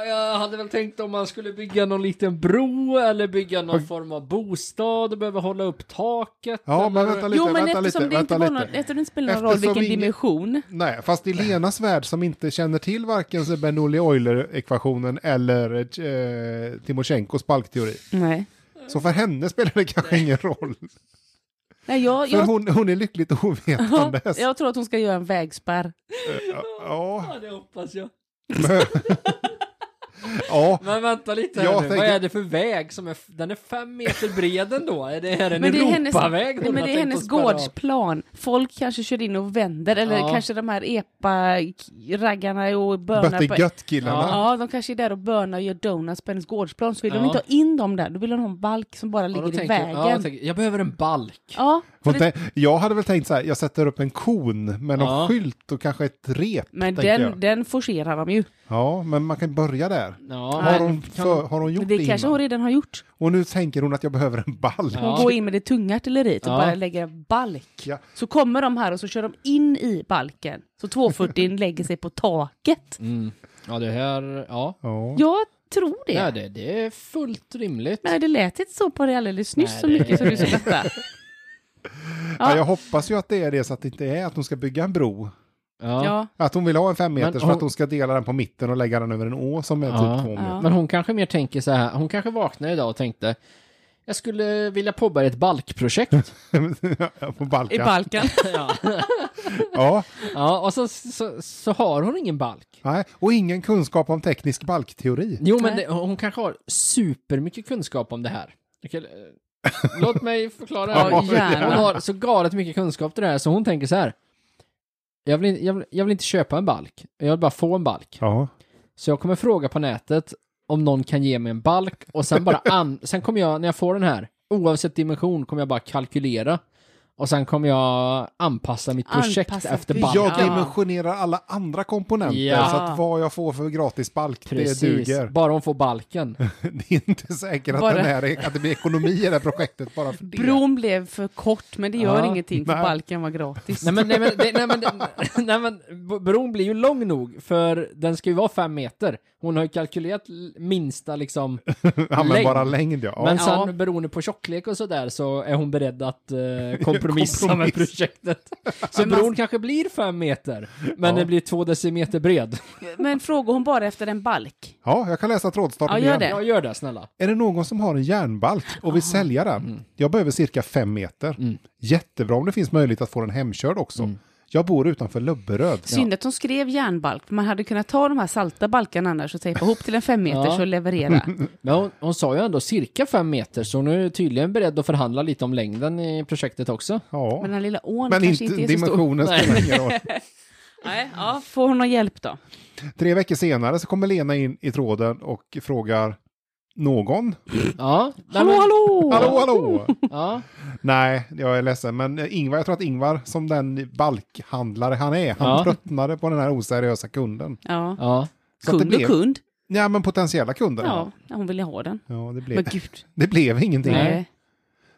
Speaker 2: Jag, hade väl tänkt om man skulle bygga någon liten bro eller bygga någon form av bostad och behöva hålla upp taket.
Speaker 1: Ja, men
Speaker 2: eller...
Speaker 1: vänta lite,
Speaker 3: Jo, men
Speaker 1: vänta
Speaker 3: eftersom
Speaker 1: lite,
Speaker 3: det inte
Speaker 1: vänta
Speaker 3: var
Speaker 1: lite.
Speaker 3: någon, eftersom det inte spelar någon roll
Speaker 1: Eftersom
Speaker 3: vilken
Speaker 1: ingen-
Speaker 3: dimension.
Speaker 1: Nej, fast i Lenas värld som inte känner till varken så bernoulli euler ekvationen eller eh, Timosjenkos balkteori.
Speaker 3: Nej.
Speaker 1: Så för henne spelar det kanske ingen roll.
Speaker 3: Nej, jag,
Speaker 1: För
Speaker 3: jag,
Speaker 1: hon, hon är lyckligt
Speaker 3: ja,
Speaker 1: ovetandes.
Speaker 3: jag tror att hon ska göra en vägspärr.
Speaker 1: Ja,
Speaker 2: Ja, det hoppas jag.
Speaker 1: ja.
Speaker 2: Men vänta lite här
Speaker 1: Jag
Speaker 2: nu.
Speaker 1: tänker-
Speaker 2: Vad är det för väg som är... f- Den är fem meter bred ändå. Är det här en
Speaker 3: Men det är hennes,
Speaker 2: Europaväg?
Speaker 3: nej,
Speaker 2: hon
Speaker 3: men
Speaker 2: har
Speaker 3: det är
Speaker 2: tänkt
Speaker 3: hennes
Speaker 2: att spärra av?
Speaker 3: gårdsplan. Folk kanske kör in och vänder, eller
Speaker 2: Ja.
Speaker 3: kanske de här epa-raggarna och bönar på...
Speaker 1: Böttegött-killarna.
Speaker 3: Ja, de kanske är där och bönar och gör donuts på hennes gårdsplan, så vill de
Speaker 2: Ja.
Speaker 3: inte ha in dem där. Då vill de ha en balk som bara
Speaker 2: Ja, då
Speaker 3: ligger i
Speaker 2: tänker jag-
Speaker 3: vägen.
Speaker 2: Ja, jag, tänker, jag behöver en balk.
Speaker 3: Ja,
Speaker 1: Hon
Speaker 3: för det-
Speaker 1: tän- Jag hade väl tänkt så här, jag sätter upp en kon med någon
Speaker 2: Ja.
Speaker 1: skylt och kanske ett rep.
Speaker 3: men
Speaker 1: tänker
Speaker 3: den,
Speaker 1: jag.
Speaker 3: den forcerar de ju.
Speaker 1: Ja, men man kan börja där.
Speaker 2: Ja,
Speaker 1: Har
Speaker 2: men
Speaker 1: hon,
Speaker 2: kan-
Speaker 1: för, har hon gjort
Speaker 3: Men
Speaker 1: det,
Speaker 3: det kanske
Speaker 1: innan?
Speaker 3: hon redan har gjort.
Speaker 1: Och nu tänker hon att jag behöver en balk.
Speaker 2: Ja.
Speaker 3: Hon går in med det tunga artilleriet och
Speaker 2: Ja.
Speaker 3: bara lägger en balk.
Speaker 1: Ja.
Speaker 3: Så kommer de här och så kör de in i balken. Så 240 lägger sig på taket.
Speaker 2: Mm. Ja, det här... Ja.
Speaker 1: Ja.
Speaker 3: Jag tror det.
Speaker 2: Ja, det, det är fullt rimligt.
Speaker 3: Nej, det lät inte så på det alldeles nyss
Speaker 2: Nej,
Speaker 3: så
Speaker 2: det-
Speaker 3: mycket som du sa detta.
Speaker 1: Ja,
Speaker 3: Ja.
Speaker 1: jag hoppas ju att det är det så att det inte är att hon ska bygga en bro.
Speaker 2: Ja.
Speaker 3: Ja.
Speaker 1: Att hon vill ha en fem meters
Speaker 2: Men
Speaker 1: för att
Speaker 2: hon-
Speaker 1: hon ska dela den på mitten och lägga den över en å som är
Speaker 2: Ja.
Speaker 1: typ två meter.
Speaker 3: Ja.
Speaker 2: Men hon kanske mer tänker så här, hon kanske vaknar idag och tänkte jag skulle vilja påbörja ett balkprojekt.
Speaker 1: på
Speaker 3: I
Speaker 1: Balkan.
Speaker 3: balken.
Speaker 2: ja.
Speaker 1: ja.
Speaker 2: ja, och så, så, så har hon ingen balk.
Speaker 1: Nej. Och ingen kunskap om teknisk balkteori.
Speaker 2: Jo, men
Speaker 3: Nej.
Speaker 2: det, hon kanske har supermycket kunskap om det här. Okej, eh, Låt mig förklara.
Speaker 1: Ja,
Speaker 2: Hon
Speaker 3: gärna.
Speaker 2: har så galet mycket kunskap till det här, så hon tänker så här. Jag vill, in- jag, vill, jag vill inte köpa en balk, jag vill bara få en balk.
Speaker 1: Ja.
Speaker 2: Så jag kommer fråga på nätet om någon kan ge mig en balk och sen bara an- sen kommer jag, när jag får den här, oavsett dimension, kommer jag bara kalkylera. Och sen kommer jag anpassa mitt projekt
Speaker 3: Anpassa
Speaker 2: efter
Speaker 3: hur-
Speaker 2: balken.
Speaker 1: Jag
Speaker 3: Ja.
Speaker 1: dimensionerar alla andra komponenter
Speaker 2: Ja.
Speaker 1: så att vad jag får för gratis balk,
Speaker 2: Precis,
Speaker 1: det duger.
Speaker 2: bara hon får balken.
Speaker 1: Det är inte säkert att,
Speaker 3: Bara-
Speaker 1: den här, att det blir ekonomi i det här projektet bara för det.
Speaker 3: Bron blev för kort, men det gör
Speaker 2: Ja.
Speaker 3: ingenting för
Speaker 1: Nej.
Speaker 3: balken var gratis.
Speaker 2: nej men, nej men, det, nej, men, det, nej men, b- bron blir ju lång nog, för den ska ju vara fem meter. Hon har ju kalkylerat l- minsta liksom,
Speaker 1: Användbara längd, ja.
Speaker 2: men sen
Speaker 3: Ja.
Speaker 2: beroende på tjocklek och sådär så är hon beredd att eh, kompromissa alltså- med
Speaker 1: Kompromiss.
Speaker 2: projektet. Så bron kanske blir fem meter, men
Speaker 1: Ja.
Speaker 2: den blir två decimeter bred.
Speaker 3: Men frågar hon bara efter en balk?
Speaker 1: ja, jag kan läsa trådstarten
Speaker 3: Ja, gör
Speaker 1: igen.
Speaker 3: det.
Speaker 2: Jag gör det snälla.
Speaker 1: Är det någon som har en järnbalk och vill
Speaker 3: Mm. Mm.
Speaker 1: sälja den? Jag behöver cirka fem meter. Jättebra om det finns möjlighet att få den hemkörd också. Jag bor utanför Löbberöd.
Speaker 3: Synd att de skrev järnbalk, för man hade kunnat ta de här salta balkarna annars och tejpa ihop till en femmeters
Speaker 2: Ja.
Speaker 3: och leverera.
Speaker 2: Men hon, hon sa ju ändå cirka fem meter, så hon är tydligen beredd att förhandla lite om längden i projektet också.
Speaker 1: Ja.
Speaker 3: Men den lilla ån
Speaker 1: Men
Speaker 3: kanske
Speaker 1: inte,
Speaker 3: inte, är så stor.
Speaker 1: dimensionen
Speaker 2: Nej.
Speaker 1: spelar ingen roll.
Speaker 3: Nej, ja, får hon någon hjälp då?
Speaker 1: Tre veckor senare så kommer Lena in i tråden och frågar någon.
Speaker 2: Ja. nej,
Speaker 3: Hallå,
Speaker 2: men-
Speaker 3: hallå!
Speaker 1: Hallå, hallå!
Speaker 2: Ja,
Speaker 1: Nej, jag är ledsen, men Ingvar, jag tror att Ingvar, som den balkhandlare han är, han
Speaker 2: Ja.
Speaker 1: tröttnade på den här oseriösa kunden.
Speaker 3: Ja.
Speaker 2: ja.
Speaker 1: Så att
Speaker 3: kund
Speaker 1: det blev,
Speaker 3: och kund.
Speaker 1: Ja, men potentiella kunder.
Speaker 3: Ja, hon ville ha den.
Speaker 1: Ja, det, blev,
Speaker 3: Men gud.
Speaker 1: det blev ingenting.
Speaker 2: Nej.
Speaker 3: Nej.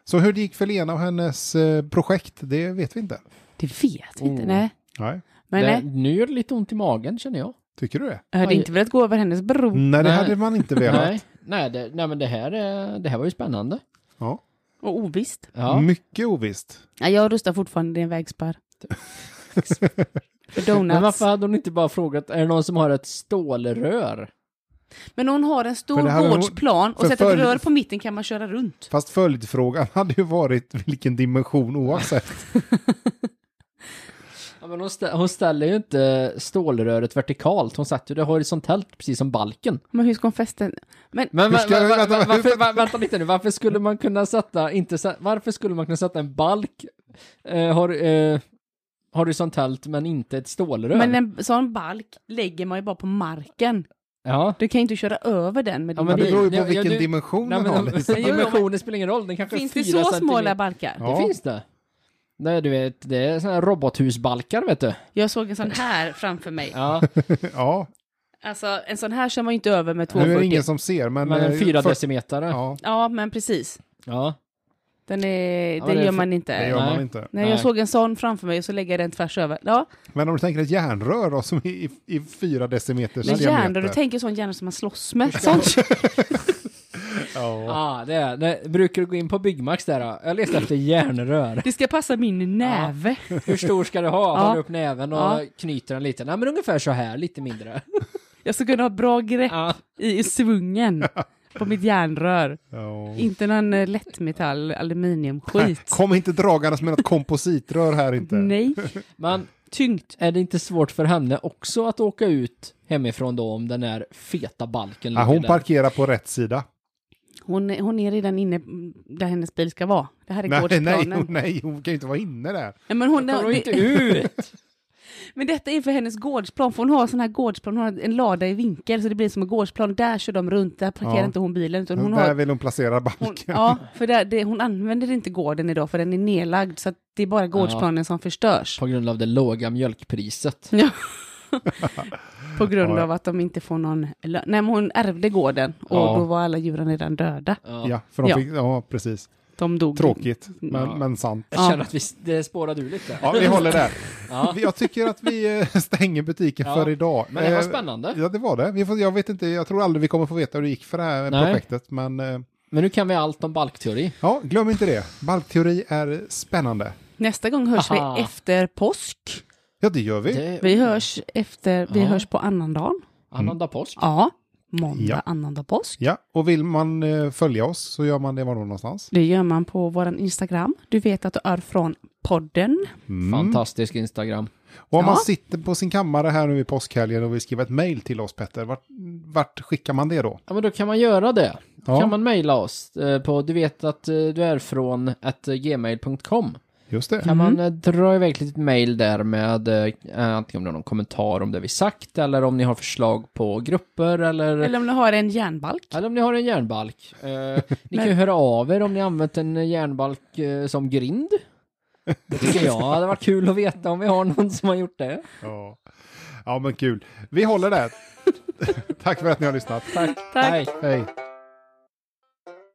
Speaker 1: Så hur det gick för Lena och hennes eh, projekt, det vet vi inte.
Speaker 3: Det vet vi inte.
Speaker 2: Oh.
Speaker 3: Nej.
Speaker 1: Nej.
Speaker 3: Men
Speaker 2: det,
Speaker 3: nej,
Speaker 2: nu gör det lite ont i magen känner jag.
Speaker 1: Tycker du det?
Speaker 3: jag hade
Speaker 2: Aj.
Speaker 3: inte velat gå över hennes bro.
Speaker 1: Nej, det
Speaker 2: Nej.
Speaker 1: hade man inte velat.
Speaker 2: Nej, nej, det, nej men det här, är- det här var ju spännande.
Speaker 1: Ja.
Speaker 3: Och ovisst.
Speaker 2: Ja.
Speaker 1: Mycket ovisst.
Speaker 3: Ja, jag rustar fortfarande i en vägspärr. För
Speaker 2: Men
Speaker 3: donuts.
Speaker 2: varför
Speaker 3: Men,
Speaker 2: hade hon inte bara frågat, är det någon som har ett stålrör?
Speaker 3: hon
Speaker 1: För
Speaker 3: har en
Speaker 1: det här
Speaker 3: stor
Speaker 1: har hon-
Speaker 3: gårdsplan och
Speaker 1: för
Speaker 3: sätter ett
Speaker 1: följ-
Speaker 3: rör på mitten kan man köra runt.
Speaker 1: Fast följdfrågan hade ju varit vilken dimension oavsett.
Speaker 2: Ja, men hon, stä, hon ställer ju inte stålröret vertikalt, hon satte ju det horisontellt precis som balken.
Speaker 3: Men hur ska hon fästa? Men
Speaker 2: Men
Speaker 1: Hur
Speaker 2: va,
Speaker 1: ska
Speaker 2: va,
Speaker 1: jag-
Speaker 2: va,
Speaker 1: vänta,
Speaker 2: va,
Speaker 1: men hur-
Speaker 2: varför, va, vänta lite nu, varför skulle man kunna sätta, inte, sä- varför skulle man kunna sätta en balk eh, hor, eh, horisontellt men inte ett stålrör?
Speaker 3: Men en sån balk lägger man ju bara på marken.
Speaker 2: ja.
Speaker 3: Du kan ju inte köra över den med
Speaker 2: Ja,
Speaker 1: Men
Speaker 3: din
Speaker 2: men
Speaker 1: det
Speaker 2: det-
Speaker 1: beror ju på
Speaker 2: ja, ja,
Speaker 1: vilken
Speaker 2: du-
Speaker 1: dimension man
Speaker 2: Nej, men,
Speaker 1: har.
Speaker 2: de-
Speaker 1: Lisa.
Speaker 2: dimensionen spelar ingen roll, den kanske är
Speaker 3: Finns det
Speaker 2: fyra
Speaker 3: så
Speaker 2: centimeter.
Speaker 3: smala balkar?
Speaker 1: Ja.
Speaker 2: Det finns det. Nej, du vet, det är såna här robothusbalkar, vet du.
Speaker 3: Jag såg en sån här framför mig.
Speaker 2: Ja,
Speaker 1: Ja,
Speaker 3: Alltså en sån här kör man ju inte över med
Speaker 1: nu är det
Speaker 3: 240.
Speaker 1: ingen som ser, men...
Speaker 2: men en
Speaker 1: eh,
Speaker 2: fyra
Speaker 1: för-
Speaker 2: decimetare. Ja.
Speaker 1: Ja,
Speaker 3: Ja, men precis.
Speaker 2: ja.
Speaker 3: Den är,
Speaker 2: Ja,
Speaker 3: det
Speaker 2: men det är
Speaker 3: gör
Speaker 2: för-
Speaker 3: man
Speaker 1: det
Speaker 3: inte.
Speaker 1: gör man
Speaker 2: Nej.
Speaker 1: inte.
Speaker 3: Nej, jag
Speaker 2: Nej.
Speaker 3: såg en sån framför mig och så lägger jag den tvärs över. Ja,
Speaker 1: Men om du tänker ett järnrör då, som är i, i fyra decimeters
Speaker 3: men järnrör,
Speaker 1: diameter.
Speaker 3: du tänker sån järnrör som man slåss med. Sånt.
Speaker 1: ja.
Speaker 2: Ah, det är. Nej, brukar du gå in på Byggmax där? Då? Jag letar efter järnrör.
Speaker 3: Det ska passa min näve.
Speaker 2: Hur stor ska du ha?
Speaker 3: Ja.
Speaker 2: Håller upp näven och
Speaker 3: Ja.
Speaker 2: knyter den lite. Nej, men ungefär så här, lite mindre.
Speaker 3: Jag ska kunna ha bra grepp
Speaker 2: Ja.
Speaker 3: i svungen på mitt järnrör.
Speaker 1: Ja.
Speaker 3: Inte någon eh, lättmetall,
Speaker 1: Nej,
Speaker 3: aluminiumskit.
Speaker 1: Kom inte dragandes med något kompositrör här inte.
Speaker 3: Nej,
Speaker 2: Men
Speaker 3: tyngt.
Speaker 2: är det inte svårt för henne också att åka ut hemifrån då om den där feta balken
Speaker 1: Ja, hon
Speaker 2: ligger där?
Speaker 1: parkerar på rätt sida.
Speaker 3: Hon, är- hon är redan inne där hennes bil ska vara. Det här är
Speaker 1: Nej, nej,
Speaker 3: gårdsplanen.
Speaker 1: hon- nej, hon kan ju inte vara inne där.
Speaker 3: Nej, men, hon,
Speaker 2: Kommer hon inte
Speaker 3: det,
Speaker 2: ut?
Speaker 3: men detta är för hennes gårdsplan, för hon har sån här gårdsplan, hon har en lada i vinkel så det blir som en gårdsplan. Där kör de runt, där parkerar
Speaker 1: Ja.
Speaker 3: inte hon bilen. Utan hon
Speaker 1: där
Speaker 3: har,
Speaker 1: vill hon placera
Speaker 3: hon,
Speaker 1: balken.
Speaker 3: ja, för där, det, hon använder inte gården idag för den är nedlagd så att det är bara gårdsplanen som förstörs.
Speaker 2: På grund av det låga mjölkpriset.
Speaker 3: Ja. På grund
Speaker 1: Ja.
Speaker 3: av att de inte får någon lön. Nej, men hon ärvde gården och
Speaker 2: Ja.
Speaker 3: då var alla djuren redan döda.
Speaker 1: Ja,
Speaker 2: Ja.
Speaker 1: för de
Speaker 3: Ja.
Speaker 1: Fick, ja precis.
Speaker 3: De dog.
Speaker 1: Tråkigt, men,
Speaker 2: Ja.
Speaker 1: men sant.
Speaker 2: Jag känner att vi, det spårade ur lite.
Speaker 1: Ja, vi håller där.
Speaker 2: Ja.
Speaker 1: Jag tycker att vi eh, stänger butiken
Speaker 2: Ja.
Speaker 1: för idag.
Speaker 2: Men det var
Speaker 1: Eh,
Speaker 2: spännande.
Speaker 1: Ja, det var det. Vi får, jag vet inte, jag tror aldrig vi kommer få veta hur det gick för det här
Speaker 2: Nej.
Speaker 1: projektet, men eh,
Speaker 2: Men nu kan vi allt om balkteori.
Speaker 1: ja, glöm inte det. Balkteori är spännande.
Speaker 3: Nästa gång hörs
Speaker 2: Aha.
Speaker 3: vi efter påsk.
Speaker 1: Ja, det gör vi.
Speaker 2: Det-
Speaker 3: Vi hörs, efter, vi
Speaker 2: Ja.
Speaker 3: hörs på annandagen.
Speaker 2: Annandag påsk.
Speaker 3: Ja, måndag,
Speaker 1: Ja.
Speaker 3: annandag påsk.
Speaker 1: Ja, och vill man eh, följa oss så gör man det var då någonstans.
Speaker 3: Det gör man på vår Instagram. Du vet att du är från podden.
Speaker 1: Mm.
Speaker 2: Fantastisk Instagram.
Speaker 1: Och om
Speaker 3: Ja.
Speaker 1: man sitter på sin kammare här nu i påskhelgen och vill skriva ett mejl till oss, Petter, vart, vart skickar man det då?
Speaker 2: Ja, men då kan man göra det. Då
Speaker 1: Ja.
Speaker 2: kan man mejla oss eh, på du vet att eh, du är från att eh, gmail.com.
Speaker 1: Just det.
Speaker 2: Kan man eh, dra iväg ett litet mejl där med eh, antingen om det är någon kommentar om det vi sagt eller om ni har förslag på grupper eller eller,
Speaker 3: Eller om du har en järnbalk.
Speaker 2: om ni har en järnbalk. Eh, ni kan ju höra av er om ni använt en järnbalk eh, som grind. Det tycker jag hade varit kul att veta om vi har någon som har gjort det.
Speaker 1: Ja. ja, men kul. Vi håller där. Tack för att ni har lyssnat.
Speaker 2: Tack.
Speaker 3: Tack.
Speaker 2: Hej.
Speaker 1: Hej.